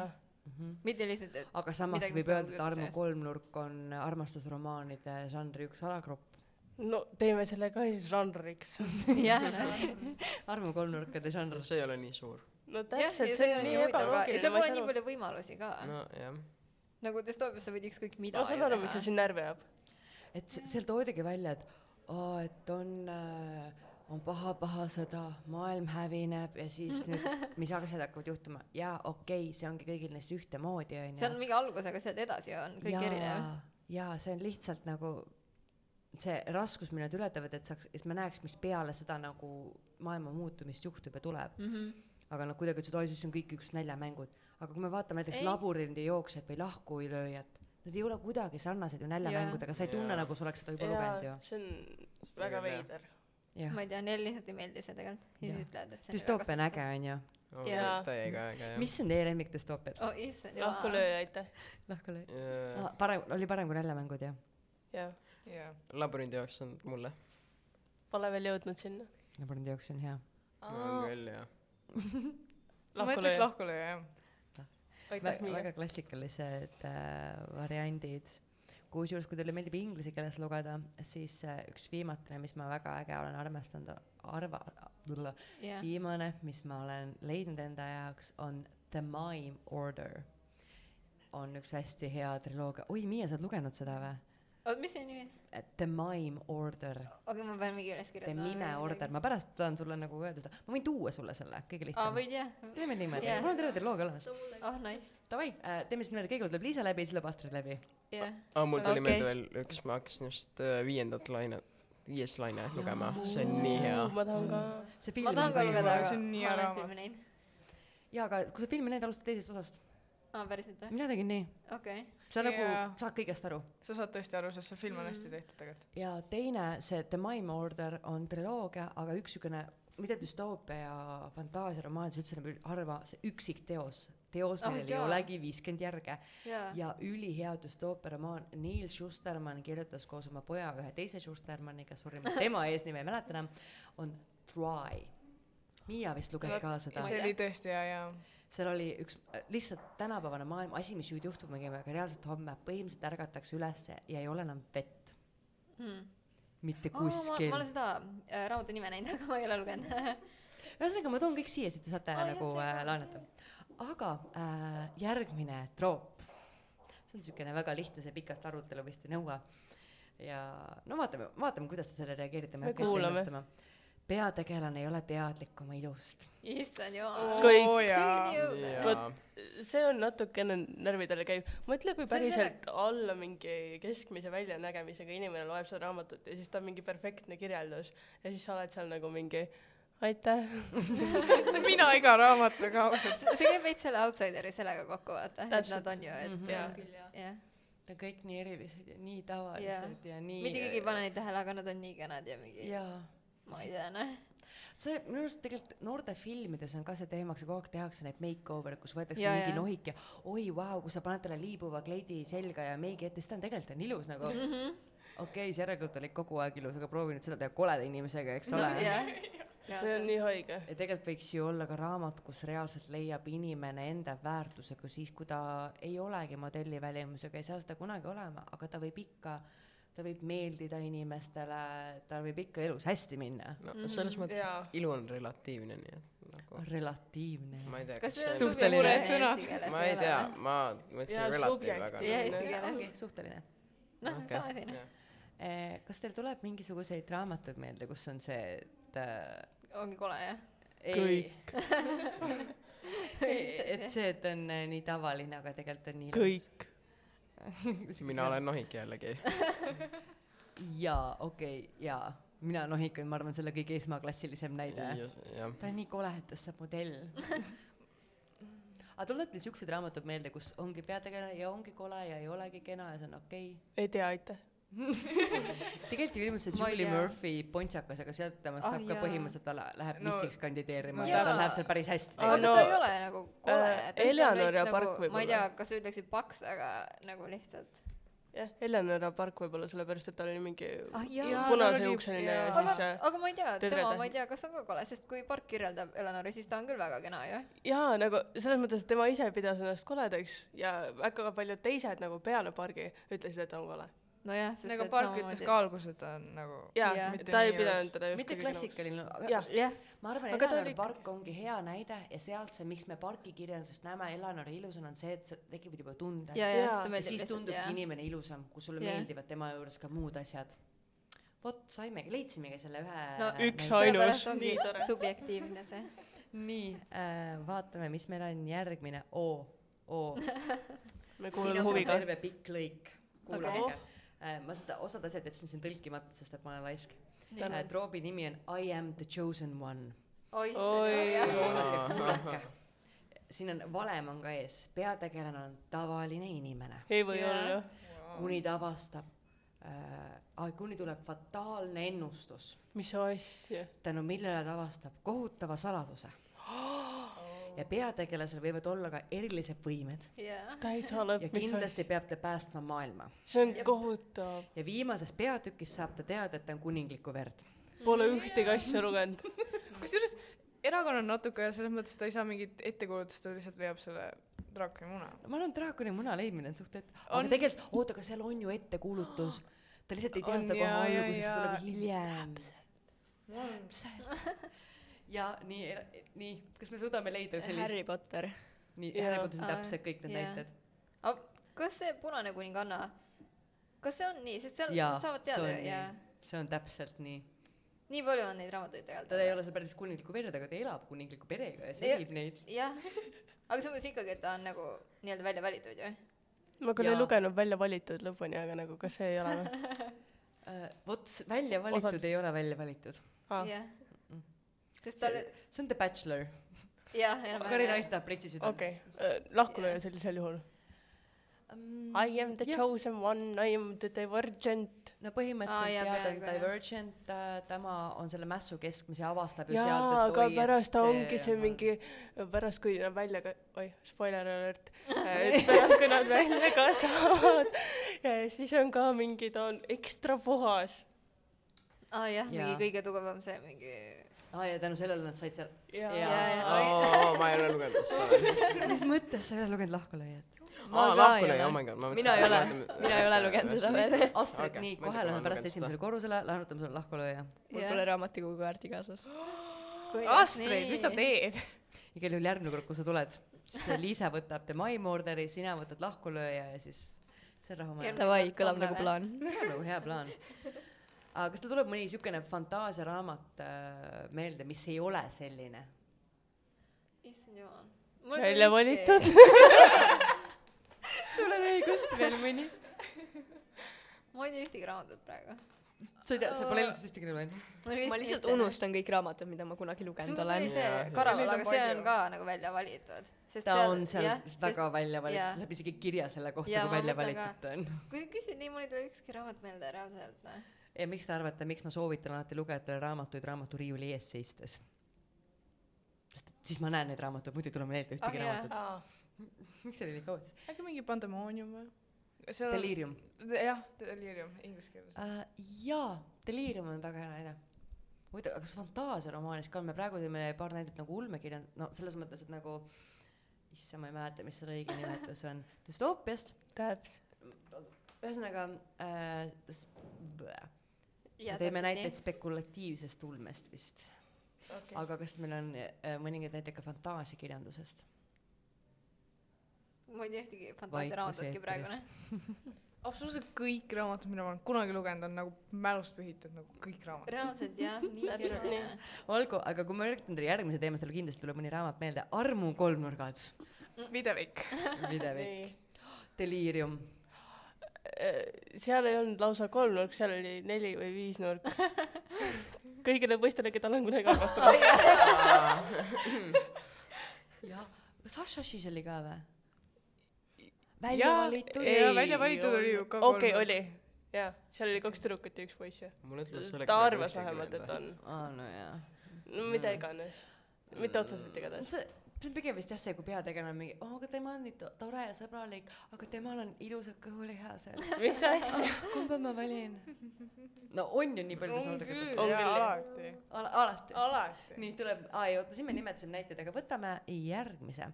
Speaker 1: nii .
Speaker 4: mitte lihtsalt , et
Speaker 1: aga samas
Speaker 4: Midagi,
Speaker 1: Midagi, võib
Speaker 4: mis on
Speaker 1: öelda , et Armu
Speaker 4: sees.
Speaker 1: kolmnurk on armastusromaanide žanri üks alagrupp .
Speaker 6: no teeme selle ka siis žanriks .
Speaker 4: [LAUGHS] jah ,
Speaker 1: Armu kolmnurkade žanr
Speaker 2: no . see ei ole nii suur .
Speaker 6: no
Speaker 4: jah , ja
Speaker 6: täpselt ,
Speaker 4: see
Speaker 6: see on
Speaker 4: on
Speaker 6: nii
Speaker 4: huvitav ka ja
Speaker 6: ebaloogiline ,
Speaker 4: seal
Speaker 6: ma
Speaker 4: pole
Speaker 6: ei saa
Speaker 4: nii
Speaker 6: aru .
Speaker 4: palju võimalusi ka .
Speaker 2: nojah ,
Speaker 4: nagu Destoopias sa võid ükskõik mida
Speaker 6: ma saan aru , miks see sind närvi ajab .
Speaker 1: et se- seal toodigi välja , et oo , et on äh, , on paha-paha sõda , maailm hävineb ja siis nüüd ,
Speaker 4: [LAUGHS]
Speaker 1: mis asjad hakkavad juhtuma . jaa , okei okay, , see ongi kõigil neist ühtemoodi , onju .
Speaker 4: see on mingi algus , aga sealt edasi on kõik erinev .
Speaker 1: jaa , see on lihtsalt nagu see raskus , mille nad ületavad , et saaks , et ma näeks , mis peale seda nagu maailma muutumist juhtub ja tuleb .
Speaker 4: Mhm.
Speaker 1: aga nad kuidagi ütlesid , oi , siis on kõik üks näljamängud . aga kui me vaatame näiteks
Speaker 4: Ei.
Speaker 1: labürindijooksjat või lahkuilööjat , nad ei ole kuidagi sarnased ju näljamängudega , sa ei tunne
Speaker 2: Jaa.
Speaker 1: nagu sa oleks seda juba lugenud ju
Speaker 6: jaa ,. see on väga
Speaker 2: Väga hea.
Speaker 6: veider .
Speaker 1: jah
Speaker 4: ma , ei tea , neile lihtsalt ei meeldi see tegelikult ja
Speaker 1: Jah.
Speaker 4: siis ütlevad , et see
Speaker 1: düstoopia on . äge , onju .
Speaker 2: Oh,
Speaker 6: Jaa.
Speaker 2: ta jäi ka äge jah .
Speaker 1: mis on teie lemmik düstoopiad ?
Speaker 4: oh issand jumal .
Speaker 6: lahkulööja , aitäh .
Speaker 1: lahkulöö . Ah, parem , oli parem kui näljamängud , jah ?
Speaker 6: jah ,
Speaker 3: jaa .
Speaker 2: labürindi jaoks on mulle .
Speaker 6: pole veel jõudnud sinna .
Speaker 1: labürindijooks on hea .
Speaker 2: on küll jah .
Speaker 3: ma ütleks
Speaker 6: lahkulööja ,
Speaker 3: lahkulööja jah .
Speaker 6: aitäh , Miia .
Speaker 1: väga klassikalised äh, variandid . kusjuures , kui teile meeldib inglise keeles lugeda , siis äh, üks viimatine , mis ma väga äge olen armastanud , arva ,
Speaker 4: jah ,
Speaker 1: viimane , mis ma olen leidnud enda jaoks , on The Mime Order . on üks hästi hea triloogia , oi Miia , sa oled lugenud seda või ?
Speaker 4: oot , Oh, mis see nimi on ?
Speaker 1: The Mime Order ,
Speaker 4: okei , ma pean mingi üles
Speaker 1: The
Speaker 4: kirjutama .
Speaker 1: Mime Order , ma pärast saan sulle nagu öelda seda , ma võin tuua sulle selle , kõige
Speaker 4: aa ,
Speaker 1: lihtsam .
Speaker 4: võid jah ?
Speaker 1: teeme niimoodi
Speaker 4: Jaa.
Speaker 1: yeah. , mul on terve triloogia olemas .
Speaker 4: oh nice ,
Speaker 1: Davai , teeme siis niimoodi , kõigepealt lööb Liisa läbi , siis lööb Astrid läbi .
Speaker 4: jah .
Speaker 2: aa , Ah, mul tuli
Speaker 4: Okei.
Speaker 2: meelde veel üks , ma hakkasin just äh, viiendat lainet , viies laine lugema , see on nii hea .
Speaker 6: ma tahan ka .
Speaker 1: see
Speaker 4: ma tahan ka
Speaker 1: on
Speaker 4: lugeda ,
Speaker 3: see
Speaker 4: aga
Speaker 3: on nii
Speaker 4: ma olen
Speaker 3: raamat.
Speaker 4: filmi näinud .
Speaker 1: jaa , aga kui sa filmi näed , alusta teisest osast .
Speaker 4: aa , päriselt või ?
Speaker 1: mina tegin nii .
Speaker 4: okei .
Speaker 1: sa nagu
Speaker 3: Jaa.
Speaker 1: saad kõigest aru .
Speaker 3: sa saad tõesti aru , sest see film on
Speaker 6: Mm.
Speaker 3: hästi tehtud tegelikult .
Speaker 1: ja teine , see The Mime Order on triloogia , aga üks niisugune , mida düstoopia ja fantaasiaromaanides üldse nagu harva , see üksik teos , teos ,
Speaker 4: Ah,
Speaker 1: millel oh, Ah. ei
Speaker 4: jaa.
Speaker 1: olegi viiskümmend järge
Speaker 4: jaa .
Speaker 1: ja ülihea düstoopia romaan , Neil Schustermann kirjutas koos oma poja ühe teise Schustermanniga , sorry , [LAUGHS] ma tema eesnime ei mäleta enam , on Dry . Miia vist luges
Speaker 3: Vot,
Speaker 1: ka seda .
Speaker 3: see oli tõesti hea ja
Speaker 1: seal oli üks äh, lihtsalt tänapäevane maailm , asi , mis nüüd juhtub , me käime ka reaalselt homme , põhimõtteliselt ärgatakse ülesse ja ei ole enam vett mitte
Speaker 4: Oh, Hmm. ma,
Speaker 1: kuskil
Speaker 4: ma olen . seda äh, raamatu nime näinud , [LAUGHS] aga ma ei ole lugenud .
Speaker 1: ühesõnaga , ma toon kõik siia , siis te saate oh,
Speaker 4: Aa, jah,
Speaker 1: nagu
Speaker 4: see
Speaker 1: äh,
Speaker 4: ka.
Speaker 1: laenata . aga äh, järgmine troop , see on niisugune väga lihtne , see pikast arutelu vist ei nõua . ja no vaatame , vaatame , kuidas te sellele reageerite ,
Speaker 6: Me
Speaker 1: ma ei hakka ette
Speaker 6: kuulame.
Speaker 1: ennustama . peategelane ei ole teadlik oma ilust .
Speaker 4: issand jumal .
Speaker 6: Kõik.
Speaker 3: oo jaa .
Speaker 4: see
Speaker 2: jaa ,
Speaker 6: see on natukene närvidele käiv . mõtle , kui
Speaker 4: See on
Speaker 6: päriselt alla mingi keskmise väljanägemisega inimene loeb seda raamatut ja siis ta on mingi perfektne kirjeldus ja siis sa oled seal nagu mingi aitäh .
Speaker 3: mina iga raamatuga ausalt .
Speaker 4: see käib veits selle Outsideri sellega kokku , vaata , et
Speaker 6: Täpselt.
Speaker 4: nad on ju , et
Speaker 6: Jaa.
Speaker 4: jah , jah .
Speaker 1: Nad on kõik nii erilised ja nii tavalised ja, ja nii .
Speaker 4: mitte keegi ei pane neid tähele , aga nad on nii kenad ja mingi ,
Speaker 1: jaa
Speaker 4: ma ei tea , noh .
Speaker 1: see minu arust tegelikult noorte filmides on ka see teemaks ja kogu aeg tehakse neid makeover'e , kus võetakse
Speaker 4: Jaa,
Speaker 1: ja, mingi
Speaker 4: jaa.
Speaker 1: nohik ja oi vau wow, , kui sa paned talle liibuva kleidi selga ja meigi ette , siis ta on tegelikult on ilus nagu mm -hmm.
Speaker 4: Mhm.
Speaker 1: okei okay, , see järelikult oli kogu aeg ilus , aga proovi nüüd seda teha koleda inimesega , eks ole no, .
Speaker 4: jah .
Speaker 6: see on nii haige .
Speaker 1: ja tegelikult võiks ju olla ka raamat , kus reaalselt leiab inimene enda väärtuse ka siis , kui ta ei olegi modelli välimusega , ei saa seda kunagi olema , aga ta võib ikka , ta võib meeldida inimestele , tal võib ikka elus hästi minna .
Speaker 2: no Mm, selles mõttes ,
Speaker 6: Jaa.
Speaker 2: et ilu on relatiivne , nii et nagu
Speaker 1: relatiivne .
Speaker 2: ma ei tea ,
Speaker 4: kas see on
Speaker 2: on-
Speaker 4: suguline
Speaker 3: suured sõnad.
Speaker 4: eesti keeles ?
Speaker 2: ma ei tea , ma mõtlesin nagu.
Speaker 6: Jaa,
Speaker 2: relatiiv , aga
Speaker 4: jah ,
Speaker 6: subjektiivne.
Speaker 1: nagu.
Speaker 4: eesti keeles .
Speaker 1: suhteline
Speaker 4: noh ,
Speaker 2: Okei.
Speaker 4: sama asi , noh .
Speaker 1: Eh, kas teil tuleb mingisuguseid raamatuid meelde , kus on see , et äh,
Speaker 4: ongi kole , jah .
Speaker 1: ei , [LAUGHS] et see , et on äh, nii tavaline , aga tegelikult on nii ilus .
Speaker 6: kõik .
Speaker 1: [LAUGHS]
Speaker 2: mina olen nohik jällegi .
Speaker 1: jaa , okei okay, , jaa . mina olen ohik , ma arvan , selle kõige esmaklassilisem näide .
Speaker 2: jah ,
Speaker 1: ta on nii kole , et tast saab modell . aga tulevad teil siuksed raamatud meelde , kus ongi peategelane ja ongi kole ja ei olegi kena ja see on okei okay. ?
Speaker 6: ei tea , aitäh .
Speaker 1: tegelikult ju ilmus see
Speaker 4: Ma ei
Speaker 1: Julie
Speaker 4: tea.
Speaker 1: Murphy pontsakas , aga sealt temast
Speaker 4: Ah,
Speaker 1: saab ka
Speaker 4: jaa.
Speaker 1: põhimõtteliselt , ta lä- läheb
Speaker 3: No,
Speaker 1: missiks kandideerima
Speaker 3: no
Speaker 1: ja tal
Speaker 4: jaa.
Speaker 1: läheb seal päris hästi
Speaker 4: aga
Speaker 6: Ah,
Speaker 4: no,
Speaker 6: no,
Speaker 4: ta ei ole nagu kole
Speaker 6: äh,
Speaker 4: äh, .
Speaker 6: Eleanor ja Park
Speaker 4: ma ei
Speaker 6: võib-olla.
Speaker 4: tea , kas ütleksid paks , aga nagu lihtsalt .
Speaker 6: jah , Eleonora Park võib-olla sellepärast , et tal oli mingi
Speaker 4: ah jaa
Speaker 3: Jaa, . tal
Speaker 6: punase
Speaker 3: oli-
Speaker 6: ukseline ja
Speaker 3: jaa.
Speaker 4: aga
Speaker 6: siis , äh,
Speaker 4: aga ma ei tea ,
Speaker 6: Tõdrede.
Speaker 4: tema , ma ei tea , kas on ka kole , sest kui Park kirjeldab Eleonori , siis ta on küll väga kena ju .
Speaker 6: jaa , nagu selles mõttes , et tema ise pidas ennast koledaks ja väga paljud teised nagu peale pargi ütlesid , et ta on kole .
Speaker 4: nojah , sest
Speaker 3: aga Park ütles Nagu ka . alguses , et ta on nagu
Speaker 6: jaa
Speaker 4: Jaa. ,
Speaker 6: ta ei pidanud teda
Speaker 1: mitte
Speaker 6: justkui
Speaker 1: klassikaline , aga
Speaker 6: Jah.
Speaker 4: jah ,
Speaker 1: ma arvan ,
Speaker 6: Aga ta
Speaker 1: Eleanor
Speaker 6: oli-
Speaker 1: Park ongi hea näide ja sealt see , miks me parki kirjandusest näeme Eleanori ilusana , on see , et sa tekib juba tunde .
Speaker 4: ja , ja
Speaker 6: Jaa.
Speaker 4: seda
Speaker 1: ja
Speaker 4: meeldib
Speaker 1: siis
Speaker 4: lihtsalt
Speaker 1: tundubki
Speaker 4: jah .
Speaker 1: inimene ilusam , kui sulle
Speaker 4: Jah.
Speaker 1: meeldivad tema juures ka muud asjag . vot saimegi , leidsimegi selle ühe
Speaker 4: No
Speaker 6: Üks
Speaker 1: näite.
Speaker 6: ainus.
Speaker 4: sellepärast [LAUGHS] ongi
Speaker 6: Nii tore.
Speaker 4: subjektiivne see .
Speaker 1: nii äh, , vaatame , mis meil on järgmine , oo , oo
Speaker 6: noh,
Speaker 1: siin
Speaker 6: me kuulame
Speaker 1: on mul
Speaker 6: huviga .
Speaker 1: terve pikk lõik , kuulake
Speaker 4: Okei.
Speaker 1: okay. . ma seda , osad asjad jätsin siin tõlkimata , sest et ma olen laisk .
Speaker 6: Tänan.
Speaker 1: Troobi nimi on I am the chosen one .
Speaker 4: oi ,
Speaker 6: Oi.
Speaker 4: see on jah .
Speaker 2: Ahah.
Speaker 6: noh.
Speaker 1: kuulake , siin on valem on ka ees , peategelane on tavaline inimene ,
Speaker 6: ei või
Speaker 4: Jaa.
Speaker 6: olla .
Speaker 1: kuni ta avastab äh, , kuni tuleb fataalne ennustus ,
Speaker 6: mis asja ?
Speaker 1: tänu millele ta avastab kohutava
Speaker 6: [GASPS]
Speaker 1: saladuse . ja peategelasel võivad olla ka erilised võimed
Speaker 4: jah ,
Speaker 6: täitsa lõpp
Speaker 1: ja ,
Speaker 6: mis
Speaker 1: kindlasti
Speaker 6: asja ?
Speaker 1: peab ta päästma maailma .
Speaker 6: see on
Speaker 4: Jep.
Speaker 6: kohutav .
Speaker 1: ja viimases peatükis saab ta teada , et ta on kuninglikku verd .
Speaker 6: Pole
Speaker 1: Mm.
Speaker 6: ühtegi asja lugenud .
Speaker 3: kusjuures erakonnal natuke ja selles mõttes ta ei saa mingit ettekujutust , ta lihtsalt leiab selle draakoni muna .
Speaker 1: ma arvan , draakoni muna leidmine on suht , et on...
Speaker 3: On-
Speaker 1: aga tegelikult , oota , aga seal on ju ettekuulutus . ta lihtsalt ei tea
Speaker 3: On
Speaker 1: seda kohe
Speaker 3: jaa, jaa,
Speaker 1: alguses , see
Speaker 3: jaa.
Speaker 1: tuleb hiljem . täpselt . ja nii , nii , kas me suudame leida sellist ,
Speaker 5: Harry Potter .
Speaker 1: nii ,
Speaker 6: Jaa.
Speaker 1: Harry Potteris on
Speaker 4: Aa,
Speaker 1: täpselt kõik need
Speaker 4: jaa.
Speaker 1: näited .
Speaker 4: kas see Punane kuninganna , kas see on nii , sest seal
Speaker 1: Jaa,
Speaker 4: nad saavad
Speaker 1: see
Speaker 4: teada
Speaker 1: on
Speaker 4: ju ,
Speaker 1: nii.
Speaker 4: jaa .
Speaker 1: see on täpselt nii .
Speaker 4: nii palju on neid raamatuid tegelikult .
Speaker 1: ta ei ole seal päris kuninglikku verd , aga ta elab kuningliku perega ja
Speaker 4: Ja-
Speaker 1: sehib neid .
Speaker 4: jah , aga samas ikkagi , et ta on nagu nii-öelda välja valitud ju .
Speaker 6: ma küll ei
Speaker 1: Jaa.
Speaker 6: lugenud välja valitud lõpuni , aga nagu kas see
Speaker 1: [LAUGHS]
Speaker 6: ei ole või ?
Speaker 1: Äh, vot välja valitud ei ole välja valitud .
Speaker 3: Ah.
Speaker 6: aa ,
Speaker 4: jah . sest ta ,
Speaker 1: see on The Bachelor .
Speaker 4: jah ,
Speaker 1: Karina
Speaker 4: enam-vähem .
Speaker 1: Aist tahab pritsi südant .
Speaker 6: okei , lahkunud Äh, sellisel juhul . I am the
Speaker 1: Jah.
Speaker 6: chosen one , I am the divergent .
Speaker 1: no
Speaker 4: Aa, jaa,
Speaker 1: põhimõtteliselt jah , ta on
Speaker 4: peaaegu, jah.
Speaker 1: divergent , tema on selle mässu keskmes ja avastab ju sealt ,
Speaker 6: jaa ,
Speaker 1: et
Speaker 6: aga
Speaker 1: oi,
Speaker 6: pärast ta
Speaker 1: et
Speaker 6: ongi see mingi , pärast kui nad välja ka , oih , spoiler
Speaker 1: [LAUGHS]
Speaker 6: alert , et pärast kui nad välja ka saavad , siis on ka mingi , ta on ekstra puhas .
Speaker 4: aa Ah, jah , mingi
Speaker 1: Jaa.
Speaker 4: kõige tugevam see mingi .
Speaker 1: aa Ah, ja tänu sellele nad said seal , Jaa.
Speaker 6: jaa ,
Speaker 4: jaa , jaa ,
Speaker 2: aa , ma ei ole lugenud seda veel .
Speaker 1: [LAUGHS] mis mõttes sa ei ole lugenud Lahkulööjat ?
Speaker 5: Ma
Speaker 2: aa ,
Speaker 5: ka ei
Speaker 2: lahkune ,
Speaker 5: ole.
Speaker 2: oh my god , ma mõtlesin .
Speaker 5: Mina ei ole- mina ei ole lugenud seda veel.
Speaker 1: Astrid okay, , nii , kohe lähme pärast esimesele korrusele , laenutame sulle Lahkulööja .
Speaker 5: mul
Speaker 4: Jah.
Speaker 5: pole raamatukogu kaarti kaasas .
Speaker 3: Astrid , mis sa ? teed ?
Speaker 1: igal juhul järgmine kord , kui sa tuled , siis Liisa võtab tema aimorderi , sina võtad Lahkulööja ja siis see on rahumaja .
Speaker 5: Davai , kõlab nagu
Speaker 4: Homme või?
Speaker 5: plaan .
Speaker 1: nagu hea plaan . aga kas teil tuleb mõni niisugune fantaasiaraamat äh, meelde , mis ei ole selline ?
Speaker 4: issand jumal . Mul
Speaker 6: Välja
Speaker 4: küll ükski-
Speaker 6: valitud. [LAUGHS]
Speaker 1: sul on õigus , veel mõni .
Speaker 4: ma ei tea ühtegi raamatut praegu .
Speaker 1: sa ei tea , sa pole elus ühtegi lugenud ?
Speaker 5: ma lihtsalt . unustan kõik raamatud , mida ma kunagi
Speaker 4: siis
Speaker 5: lugenud
Speaker 4: mul tuli
Speaker 5: olen .
Speaker 4: see
Speaker 2: Jaa, jaa.
Speaker 4: Karaval ,
Speaker 3: Neid on
Speaker 4: aga see on
Speaker 3: palju.
Speaker 4: ka nagu välja valitud .
Speaker 1: ta seal, on seal jah, väga sest, välja
Speaker 4: jaa.
Speaker 1: valitud , saab isegi kirja selle kohta ,
Speaker 4: Jaa,
Speaker 1: kui
Speaker 4: ma
Speaker 1: välja
Speaker 4: mõtlen ka.
Speaker 1: valitud ta on .
Speaker 4: kui sa küsid nii , mul ei tule ükski raamat meelde reaalselt , noh .
Speaker 1: ja Eh, miks te arvate , miks ma soovitan alati lugejatele raamatuid raamaturiiuli ees seistes ? sest et siis ma näen neid raamatuid , muidu ei tule mulle meelde ühtegi ah,
Speaker 4: Ah, jaa.
Speaker 1: raamatut . [LAUGHS]
Speaker 6: jaa .
Speaker 1: miks see oli nii kaua siis ?
Speaker 3: äkki mingi pandemoonium või ? seal on ,
Speaker 1: Delirium
Speaker 3: jah , delirium inglise keeles .
Speaker 1: uh, . jaa , Delirium on väga hea näide . muidu , aga kas fantaasiaromaanis ka on , me praegu tõime paar näidet nagu ulmekirjand- , no selles mõttes , et nagu issand , ma ei mäleta , mis selle õige nimetus on , düstoopiast ,
Speaker 6: täpselt .
Speaker 1: ühesõnaga äh, me teeme näiteid . spekulatiivsest ulmest vist okay. . aga kas meil on äh, mõningaid näiteid ka fantaasiakirjandusest ?
Speaker 4: ma ei tea ühtegi
Speaker 1: Vaikus
Speaker 4: fantaasiaraamatutki praegu ,
Speaker 1: eetris.
Speaker 4: noh .
Speaker 3: absoluutselt kõik raamatud , mida ma olen kunagi lugenud , on nagu mälust pühitud , nagu kõik raamatud .
Speaker 4: reaalselt jah , nii
Speaker 6: Täpselt
Speaker 4: keeruline
Speaker 6: nii. .
Speaker 1: olgu , aga kui ma üritan teile järgmise teema , siis teil kindlasti tuleb mõni raamat meelde , Armu kolmnurgad ,
Speaker 3: Mm. videvik .
Speaker 1: videvik , Delirium .
Speaker 6: Äh, seal ei olnud lausa kolmnurk , seal oli neli või viisnurk .
Speaker 3: [LAUGHS]
Speaker 6: kõigile poistele , keda olen kunagi armastanud .
Speaker 1: jah , kas Ashasis oli ka või ?
Speaker 3: Jaa,
Speaker 1: välja valitud .
Speaker 3: ei, välja valitud oli ju ka
Speaker 6: okei ,
Speaker 3: kolmnurk.
Speaker 6: oli . jaa , seal oli kaks tüdrukut ja üks poiss ju .
Speaker 2: mulle tundus
Speaker 6: ta arvas vähemalt , et on .
Speaker 1: aa , nojah .
Speaker 6: no mida
Speaker 1: Jaa.
Speaker 6: iganes . mitte otseselt
Speaker 3: [LAUGHS]
Speaker 6: igatahes .
Speaker 1: see , see on pigem vist jah see , kui peategelane on mingi , oo , aga tema on nii to- tore ja sõbralik , aga temal on ilusad kõhulihased .
Speaker 6: [LAUGHS] mis asja ?
Speaker 1: kumba ma valin ? no on ju nii paljudes olukordades .
Speaker 6: On
Speaker 3: jaa ,
Speaker 6: küll, jah.
Speaker 3: alati ,
Speaker 1: ala- , alati .
Speaker 3: alati .
Speaker 1: nii tuleb , aa ei oota , siin me nimetasime näiteid , aga võtame järgmise .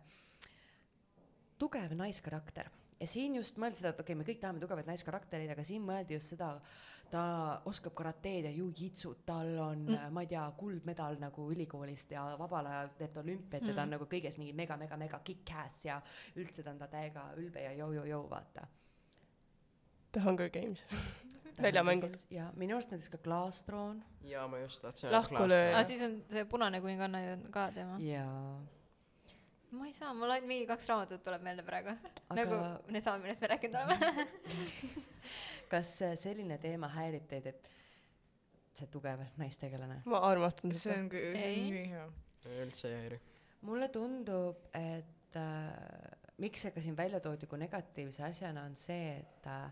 Speaker 1: tugev naiskarakter ja siin just mõeldi seda , et okei okay, , me kõik tahame tugevaid naiskaraktereid , aga siin mõeldi just seda , ta oskab karateed ja jujitsut , tal on mm. , ma ei tea , kuldmedal nagu ülikoolist ja vabal ajal teeb ta olümpiat mm. ja ta on nagu kõiges mingi mega-mega-mega kick-ass ja üldse ta on ta täiega ülbe ja jõu-jõu-jõu , vaata .
Speaker 6: The Hunger Games . Väljamängud. .
Speaker 1: nagu ja minu arust näiteks ka Klaastroon
Speaker 2: jaa , ma just tahtsin
Speaker 6: Lahku lööja.
Speaker 4: aa ,
Speaker 2: klaasida .
Speaker 4: siis on see Punane kuninganna ju on ka tema .
Speaker 1: ja
Speaker 4: ma ei saa , mul ainult mingi kaks raamatut tuleb meelde praegu aga... .
Speaker 1: Aga-
Speaker 4: nagu needsamad , millest me rääkinud oleme .
Speaker 1: kas äh, selline teema häirib teid , et see tugev naistegelane ?
Speaker 6: ma armastan
Speaker 3: see
Speaker 6: seda .
Speaker 3: on , see
Speaker 4: Ei.
Speaker 3: on nii hea .
Speaker 2: üldse ei häiri .
Speaker 1: mulle tundub , et äh, miks see ka siin välja toodi kui negatiivse asjana , on see , et äh,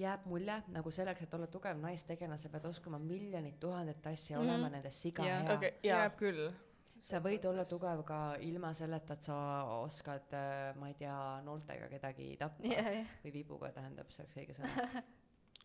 Speaker 1: jääb mulje nagu selleks , et olla tugev naistegelane , sa pead oskama miljonit tuhandet asja mm
Speaker 4: Mhm.
Speaker 1: -hmm. olema nendes siga
Speaker 4: Jaa.
Speaker 1: yeah. hea
Speaker 6: okei
Speaker 1: okay. .
Speaker 6: jaa .
Speaker 3: jääb küll .
Speaker 1: sa võid olla tugev ka ilma selleta , et sa oskad , ma ei tea , nooltega kedagi tappa
Speaker 4: jah , jah .
Speaker 1: või vibuga tähendab , see oleks õige sõna .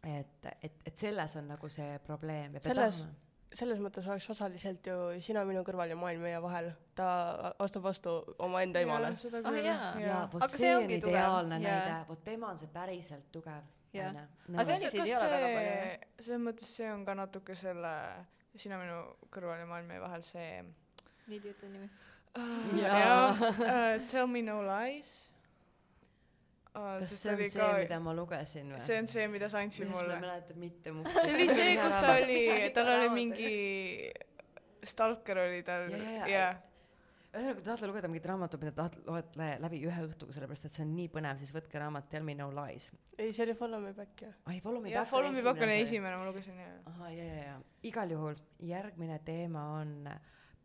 Speaker 1: [LAUGHS] et , et , et selles on nagu see probleem ja pead
Speaker 6: Selles-
Speaker 1: tahama .
Speaker 6: selles mõttes oleks osaliselt ju sina minu kõrval ja maailm meie vahel . ta astub vastu omaenda emale .
Speaker 4: Ah, jaa.
Speaker 1: ja
Speaker 3: jaa .
Speaker 1: vot
Speaker 4: Aga see
Speaker 1: see on
Speaker 4: ongi tugev,
Speaker 1: ideaalne
Speaker 4: jaa.
Speaker 1: näide , vot tema on see päriselt tugev . Nagu
Speaker 4: Jah. Aga see on
Speaker 3: kas
Speaker 4: Selliseid ei
Speaker 3: see
Speaker 4: ole väga palju, jah. ,
Speaker 3: selles mõttes see on ka natuke selle , sina minu kõrval ja maailm meie vahel see
Speaker 4: nii tüütu nimi .
Speaker 1: Jaa.
Speaker 3: jah , Tell me no lies . Äh,
Speaker 1: kas see on see , mida ma lugesin või ?
Speaker 3: see on see , mida sa andsid
Speaker 1: millest ma
Speaker 3: mulle
Speaker 1: ei . mäleta
Speaker 3: [LAUGHS]
Speaker 1: mitte
Speaker 3: see oli see , kus ta oli ,
Speaker 4: Iga
Speaker 3: tal oli
Speaker 4: raamat,
Speaker 3: mingi stalker oli tal
Speaker 1: Jaa, jaa, jaa.
Speaker 3: ja
Speaker 1: ühesõnaga , kui te tahate lugeda mingit raamatut , mida tahate , loete läbi ühe õhtuga , sellepärast et see on nii põnev , siis võtke raamat Tell me no lies .
Speaker 6: ei , see oli Follow me back ju .
Speaker 1: ai , Follow me
Speaker 3: ja
Speaker 1: back .
Speaker 3: Follow me back oli . esimene , ma lugesin ja .
Speaker 1: ahah , ja , ja , ja igal juhul järgmine teema on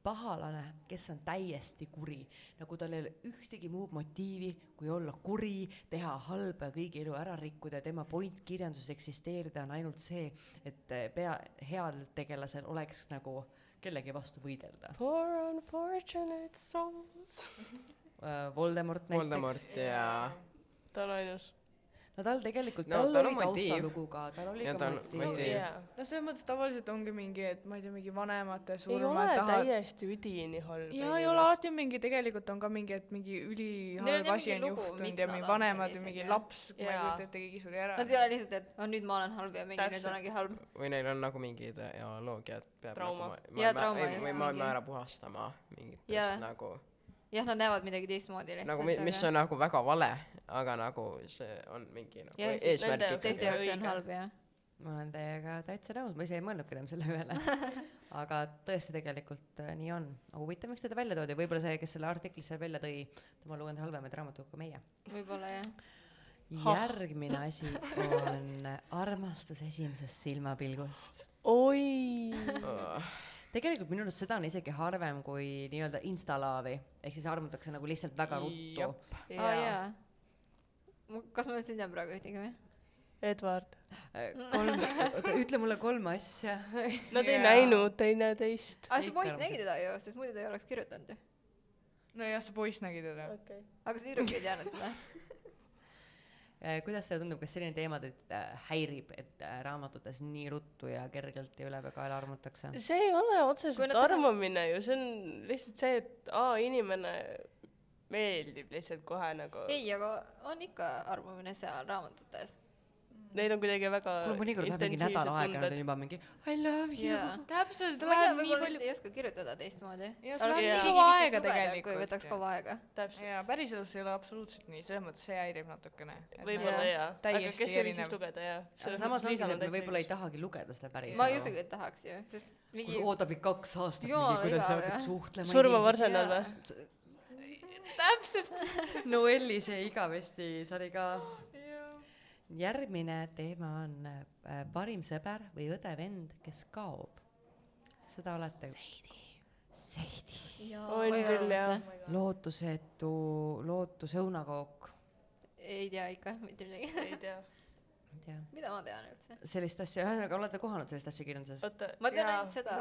Speaker 1: pahalane , kes on täiesti kuri , nagu tal ei ole ühtegi muud motiivi , kui olla kuri , teha halba ja kõigi elu ära rikkuda ja tema point kirjanduses eksisteerida on ainult see , et eh, pea , heal tegelasel oleks nagu kellegi vastu võidelda .
Speaker 6: Poor unfortunate souls .
Speaker 1: Äh, Voldemort näiteks .
Speaker 2: Voldemort ja ,
Speaker 6: ta on ainus .
Speaker 1: no tal tegelikult
Speaker 2: No
Speaker 1: no, ,
Speaker 2: tal
Speaker 1: tal
Speaker 2: on
Speaker 1: oli
Speaker 2: motiiv.
Speaker 1: taustalugu ka , tal oli
Speaker 2: Ja
Speaker 1: ka
Speaker 2: tal-
Speaker 1: motiiv,
Speaker 2: motiiv.
Speaker 1: motiiv. .
Speaker 6: jaa .
Speaker 3: no selles mõttes tavaliselt ongi mingi , et ma ei tea , mingi vanemate
Speaker 6: ei ole
Speaker 3: surmad tahavad .
Speaker 6: täiesti üdini halb .
Speaker 3: ja ei ole , alati on mingi , tegelikult on ka mingi , et mingi ülihalb
Speaker 4: jah
Speaker 3: asi on
Speaker 4: mingi lugu, miks
Speaker 3: juhtunud ja
Speaker 4: nad
Speaker 3: mingi
Speaker 4: on
Speaker 3: vanemad
Speaker 4: sellised
Speaker 3: või mingi
Speaker 4: ja-
Speaker 3: laps , ma ei
Speaker 6: Jaa.
Speaker 3: kujuta ette , keegi suri ära .
Speaker 4: Nad ei ole lihtsalt , et aa , nüüd ma olen halb ja mingi nüüd
Speaker 6: Täpselt.
Speaker 4: olengi halb .
Speaker 2: või neil on nagu mingid ideoloogiad .
Speaker 6: Trauma.
Speaker 4: Jaa, trauma, just,
Speaker 2: või maailma
Speaker 4: mingi-
Speaker 2: ära puhastama mingitest
Speaker 4: Jaa.
Speaker 2: nagu ,
Speaker 4: jah , nad näevad midagi teistmoodi lihtsalt .
Speaker 2: nagu mi- mis on nagu väga vale , aga nagu see on mingi nagu
Speaker 4: Jah,
Speaker 2: ja,
Speaker 4: sest
Speaker 6: nende
Speaker 2: eesmärk
Speaker 6: jaoks
Speaker 4: teiste
Speaker 2: ikkagi .
Speaker 4: jaoks see on
Speaker 6: õige.
Speaker 4: halb , jah .
Speaker 1: ma olen teiega täitsa nõus , ma ise ei mõelnudki enam selle peale . aga tõesti , tegelikult äh, nii on . aga huvitav , miks teda välja toodi , võib-olla see , kes selle artikli seal välja tõi , tema on lugenud halvemaid raamatuid kui meie .
Speaker 4: võib-olla jah .
Speaker 6: Hah.
Speaker 1: järgmine asi on armastus esimesest silmapilgust .
Speaker 6: [LAUGHS] oi .
Speaker 1: tegelikult minu arust seda on isegi harvem kui nii-öelda instalaavi , ehk siis armutakse nagu lihtsalt väga ruttu .
Speaker 4: aa , jaa . kas ma üldse tean praegu ühtegi või ?
Speaker 6: Edward .
Speaker 1: Äh, kolm , oota ütle mulle kolm asja
Speaker 6: Nad ei
Speaker 3: Jaa.
Speaker 6: näinud teineteist .
Speaker 4: aa , see
Speaker 1: Kõik
Speaker 4: poiss
Speaker 1: arvasid.
Speaker 4: nägi teda ju , sest muidu ta ei oleks kirjutanud ju .
Speaker 3: nojah , see poiss nägi teda .
Speaker 6: okei .
Speaker 4: aga see tüdruk ei teadnud seda .
Speaker 1: Eh, kuidas teile tundub , kas selline teema teid äh, häirib , et äh, raamatutes nii ruttu ja kergelt ja ülepea kaela armutakse ?
Speaker 4: Äh,
Speaker 6: see ei ole
Speaker 4: Kui nad
Speaker 6: otseselt
Speaker 4: tahavad-
Speaker 6: armamine ju , see on lihtsalt see , et aa , inimene meeldib lihtsalt kohe nagu .
Speaker 4: ei , aga on ikka arvamine seal raamatutes .
Speaker 6: Neil on kuidagi väga .
Speaker 1: kuule , mõnikord läheb mingi nädal aega , nad on . juba mingi I love you yeah. .
Speaker 4: jaa .
Speaker 3: täpselt ,
Speaker 4: ma ei tea , võib-olla lihtsalt ei oska kirjutada teistmoodi .
Speaker 3: Jaa,
Speaker 6: sul on nii
Speaker 3: kaua aega
Speaker 4: kui
Speaker 3: tegelikult
Speaker 4: võtaks
Speaker 3: ju.
Speaker 4: kaua aega .
Speaker 6: täpselt ,
Speaker 3: jaa , päriselus ei ole absoluutselt nii , selles mõttes see häirib natukene .
Speaker 6: võib-olla
Speaker 4: Jaa.
Speaker 6: jaa . aga
Speaker 3: Täiesti
Speaker 6: kes oli
Speaker 3: erinev.
Speaker 6: siis lugeda jaa .
Speaker 1: aga samas ongi see , et me võib-olla ei tahagi lugeda seda päris
Speaker 4: ma ei usugi , et tahaks ju , sest mingi
Speaker 1: mingi... . ootab ikka kaks aastat
Speaker 4: Jumala
Speaker 1: mingi , kuidas sa
Speaker 4: igav, jah.
Speaker 1: hakkad suhtlema .
Speaker 6: surmav . arsenal või
Speaker 4: Jaa. ?
Speaker 3: täpselt .
Speaker 1: Noelli see igavesti sari ka . järgmine teema on äh, parim sõber või õde-vend , kes kaob . seda olete . Seidi .
Speaker 6: On küll, jah. .
Speaker 1: lootusetu , lootus õunakook
Speaker 4: ei tea ikka mitte midagi . [LAUGHS]
Speaker 6: ei tea .
Speaker 1: tea .
Speaker 4: mida ma tean üldse ?
Speaker 1: sellist asja , ühesõnaga olete kohanud sellist asja kirjanduses ?
Speaker 6: oota .
Speaker 4: ma tean ainult seda.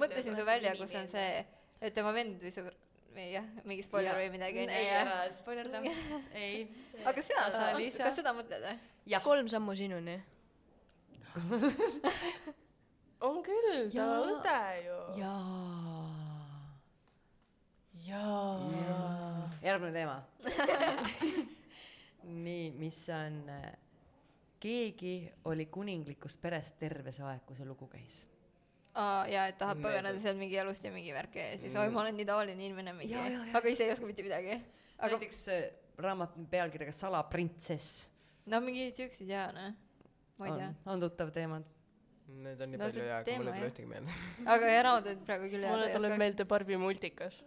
Speaker 4: mõtlesin su
Speaker 5: Mulle
Speaker 4: välja ,
Speaker 5: tuli
Speaker 4: kus
Speaker 5: nimi
Speaker 4: on see
Speaker 5: meelde. ,
Speaker 4: et tema vend või sõber , jah , mingi spoiler või midagi onju .
Speaker 1: spoilerda . ei .
Speaker 4: aga seda
Speaker 5: Sa, , Liisa?
Speaker 4: kas seda mõtled või ?
Speaker 1: jah ,
Speaker 5: kolm sammu sinuni .
Speaker 6: on küll , ta
Speaker 1: Jaa.
Speaker 6: on õde ju .
Speaker 1: jaa .
Speaker 6: jaa .
Speaker 1: järgmine teema . [LAUGHS] nii , mis on , keegi oli kuninglikust perest terve see aeg , kui see lugu käis .
Speaker 4: aa jaa , et tahab
Speaker 2: Mööda.
Speaker 4: põgeneda sealt mingi jalust ja mingi värk ja siis
Speaker 2: Mm.
Speaker 4: oi , ma olen nii tavaline inimene mingi
Speaker 1: Jaa, jaa, , jaa.
Speaker 4: aga ise ei oska mitte midagi .
Speaker 1: aga...
Speaker 4: aga
Speaker 1: näiteks äh, raamat pealkirjaga Salaprintsess
Speaker 4: no mingid siuksed jaa noh , ma ei tea
Speaker 1: on , on tuttav teema .
Speaker 2: Need on nii
Speaker 4: No
Speaker 2: no, palju
Speaker 4: see
Speaker 2: jaa , aga mul
Speaker 4: teema,
Speaker 2: ei
Speaker 4: jah.
Speaker 2: tule ühtegi meelde .
Speaker 4: aga jaa , raamatud praegu küll
Speaker 6: mulle
Speaker 4: jääda
Speaker 6: tuleb meelde Barbi multikas .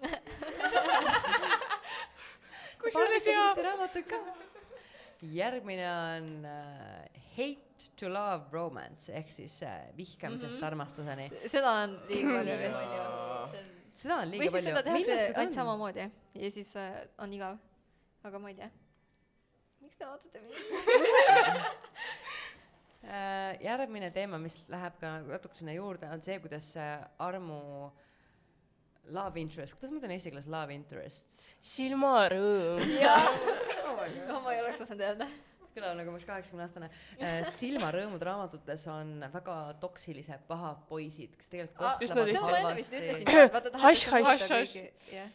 Speaker 1: kusjuures jaa . raamatud ka . järgmine on äh, Hate to love romance ehk siis äh, vihkamisest mm
Speaker 4: Mhm.
Speaker 1: -hmm. armastuseni .
Speaker 4: seda on liiga palju vist .
Speaker 2: Jaa.
Speaker 1: seda on
Speaker 4: või
Speaker 1: liiga
Speaker 4: siis seda
Speaker 1: palju .
Speaker 4: tehakse ainult ? samamoodi ja siis äh, on igav . aga ma ei tea . miks te vaatate mind ?
Speaker 1: Äh, järgmine teema , mis läheb ka nagu natuke sinna juurde , on see , kuidas äh, armu love interest , kuidas ma ütlen eesti keeles love interests ?
Speaker 6: silmarõõm .
Speaker 4: [LAUGHS] [LAUGHS] jaa , no ma ei oleks osanud öelda .
Speaker 1: kõlab nagu ma oleks kaheksakümne aastane .
Speaker 4: [LAUGHS]
Speaker 1: silmarõõmud raamatutes on väga toksilise pahad poisid , kes
Speaker 4: Ah,
Speaker 1: tegelikult
Speaker 6: Üsna
Speaker 1: kohtlevad
Speaker 6: tihti.
Speaker 4: seda ma enne vist ütlesin
Speaker 1: halvasti .
Speaker 4: juba , et vaata
Speaker 6: Hash,
Speaker 4: tahetakse
Speaker 6: hash,
Speaker 4: muuta
Speaker 6: hash.
Speaker 4: kõiki , jah .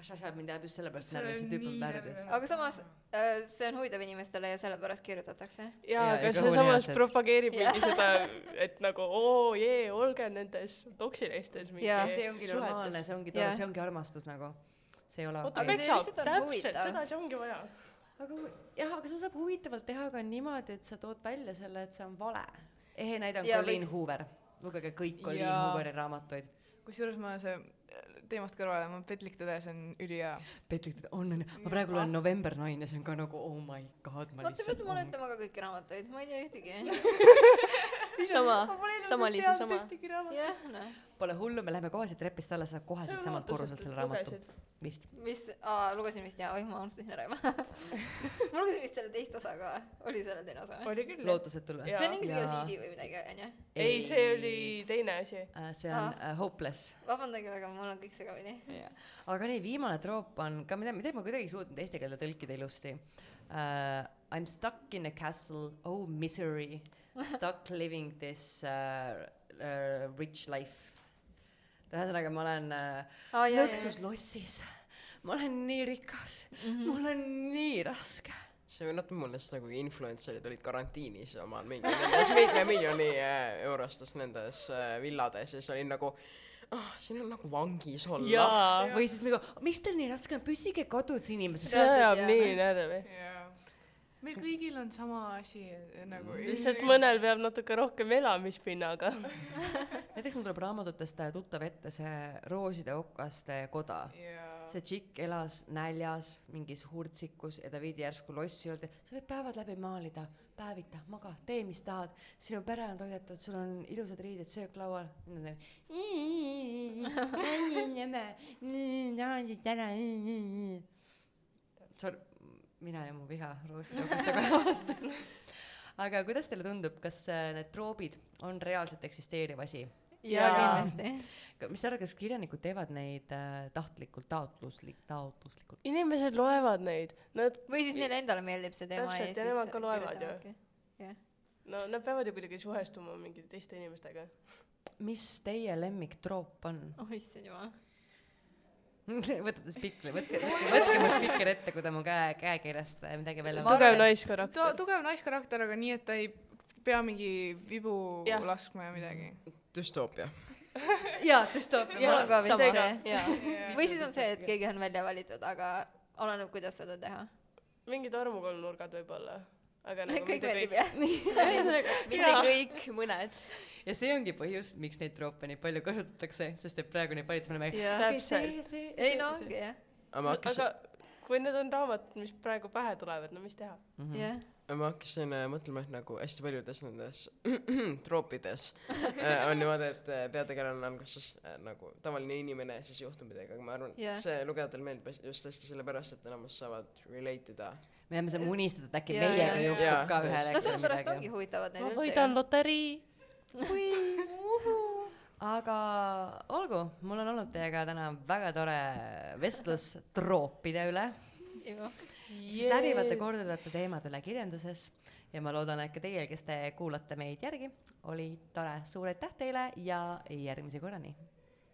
Speaker 1: Hašhašab mind ajab just sellepärast närvi , see tüüp on värvis .
Speaker 4: aga samas äh, see on huvitav inimestele ja sellepärast kirjutatakse .
Speaker 1: Jaa, ja
Speaker 6: jaa , aga see
Speaker 1: kõhuni
Speaker 6: samas
Speaker 1: asjad.
Speaker 6: propageerib
Speaker 4: Jaa.
Speaker 6: mingi seda , et nagu oo jee , olge nendes toksilistes mingi
Speaker 4: Jaa.
Speaker 1: see ongi normaalne , see ongi
Speaker 4: Jah.
Speaker 1: tore , see ongi armastus nagu . see ei ole
Speaker 6: oota ,
Speaker 4: Aga
Speaker 1: okei
Speaker 4: see
Speaker 6: peksab ,
Speaker 4: lihtsalt on
Speaker 6: täpselt ,
Speaker 4: huvitav.
Speaker 6: sedasi ongi vaja .
Speaker 1: aga hu- jah , aga seda saab huvitavalt teha ka niimoodi , et sa tood välja selle , et see on vale . ehe näide on
Speaker 4: Jaa,
Speaker 1: Colleen
Speaker 4: võiks-
Speaker 1: Hoover . lugege kõik Colleen
Speaker 3: Jaa.
Speaker 1: Hooveri raamatuid .
Speaker 3: kusjuures ma see äh, teemast kõrvale , mu petlik tõde , see on ülihea .
Speaker 1: Petlik , on , on , ma praegu loen November naine , see on ka nagu oh my god , ma
Speaker 4: vaata ,
Speaker 1: lihtsalt
Speaker 4: peate mulle . ütlema ka kõiki raamatuid , ma ei tea ühtegi .
Speaker 5: sama ,
Speaker 1: Ah,
Speaker 5: sama Liisa , sama .
Speaker 4: jah , noh ,
Speaker 1: Pole hullu , me läheme kohe siit trepist alla , saab kohe siit samalt korruselt selle raamatu . vist .
Speaker 4: mis , aa , lugesin vist jaa , oih , ma unustasin ära juba . [LAUGHS] ma lugesin vist selle teist osa ka , oli selle teine osa või ?
Speaker 6: oli küll .
Speaker 1: lootused tulevad .
Speaker 6: Jaa.
Speaker 4: see on inglise keeles
Speaker 1: Jaa.
Speaker 4: easy või midagi , onju .
Speaker 6: ei , see oli teine asi .
Speaker 1: see on uh, Hopeless .
Speaker 4: vabandage väga , mul on kõik segamini .
Speaker 1: aga nii , viimane troop on ka , mida , mida ma kuidagi ei suutnud eesti keelde tõlkida ilusti uh, . I m stuck in a castle , oh misery , stuck living this uh, uh, rich life . ühesõnaga , ma olen uh,
Speaker 4: aa , jaa , jaa .
Speaker 1: lõksuslossis , ma olen nii rikas mm , -hmm. mul on nii raske .
Speaker 2: see meenutab mulle seda , kui influencer'id olid karantiinis omal mingi nendes mitme miljoni äh, eurostes nendes äh, villades ja siis oli nagu ah , siin on nagu vangis olla .
Speaker 6: jaa .
Speaker 1: või siis nagu , miks teil nii raske on , püsige kodus inimesed .
Speaker 6: see ajab nii närvi .
Speaker 3: meil kõigil on sama asi nagu .
Speaker 6: Mm. lihtsalt mõnel peab natuke rohkem elamispinnaga .
Speaker 1: näiteks mul tuleb raamatutest äh, tuttav ette see Rooside okaste koda see tšikk elas näljas mingis hurtsikus ja ta viidi järsku lossi juurde , sa võid päevad läbi maalida , päevita , maga , tee mis tahad , sinu pere on toidetud , sul on ilusad riided , söök laual . Sorry , mina ja mu viha roosirookastega vastu . aga kuidas teile tundub , kas äh, need troobid on reaalselt eksisteeriv asi ?
Speaker 4: jaa ,
Speaker 3: Jaa.
Speaker 4: kindlasti .
Speaker 1: Ka- mis te arvate , kas kirjanikud teevad neid äh, tahtlikult , taotluslik , taotluslikult ?
Speaker 6: inimesed loevad neid , nad ,
Speaker 4: või siis neile endale meeldib see teema
Speaker 6: Täpselt, ja nemad ka loevad ju.
Speaker 4: kirjutavadki.
Speaker 6: no nad peavad ju kuidagi suhestuma mingi teiste inimestega .
Speaker 1: mis teie lemmiktroop on ? [LAUGHS]
Speaker 4: oh issand jumal .
Speaker 1: võtate spikri , võtke , võtke mu spikker ette , kui ta mu käe , käekirjast äh, midagi välja
Speaker 4: Ma arvan,
Speaker 6: tugev
Speaker 3: ta
Speaker 4: et-
Speaker 6: naiskarakter .
Speaker 3: tugev naiskarakter , aga nii , et ta ei pea mingi vibu
Speaker 6: Jah.
Speaker 3: laskma ja midagi .
Speaker 2: düstoopia .
Speaker 1: jaa , düstoopia
Speaker 4: mul on ka vist
Speaker 6: sama.
Speaker 4: see .
Speaker 5: jaa .
Speaker 4: või siis on see , et keegi on välja valitud , aga oleneb , kuidas seda teha .
Speaker 6: mingid armukolmnurgad võib-olla . aga nagu
Speaker 4: kõik
Speaker 6: mitte
Speaker 4: meeldib
Speaker 6: kõik .
Speaker 4: jah .
Speaker 6: [LAUGHS]
Speaker 5: mitte
Speaker 6: Jaa.
Speaker 5: kõik , mõned .
Speaker 1: ja see ongi põhjus , miks neid troope nii palju kasutatakse , sest et praegu neid valitsus paneb
Speaker 4: Jaa.
Speaker 6: täpselt .
Speaker 4: ei no ongi jah ,
Speaker 2: aga ma hakkasin
Speaker 6: aga kui need on raamatud , mis praegu pähe tulevad , no mis teha ?
Speaker 1: Mhm.
Speaker 4: jah .
Speaker 2: ma hakkasin äh, mõtlema , et nagu hästi paljudes nendes [CLEARS THROAT] troopides äh, on niimoodi , et äh, peategelane on alguses äh, nagu tavaline inimene ja siis juhtub midagi , aga ma arvan
Speaker 4: Jah.
Speaker 2: yeah. , see lugejatel meeldib hästi- just hästi sellepärast , et enamus saavad relate ida .
Speaker 1: me peame seda unistada , et äkki
Speaker 4: Jaa, jaa,
Speaker 1: meiega
Speaker 4: jaa.
Speaker 2: Jaa.
Speaker 1: juhtub ka
Speaker 2: No
Speaker 1: ühel
Speaker 4: no sellepärast ongi huvitavad need
Speaker 6: ma võidan loterii .
Speaker 1: aga olgu , mul on olnud teiega täna väga tore vestlus troopide üle ,
Speaker 4: ju .
Speaker 1: siis läbivate korduvate teemade üle kirjanduses ja ma loodan , et ka teil , kes te kuulate meid järgi , oli tore , suur aitäh teile ja järgmise korrani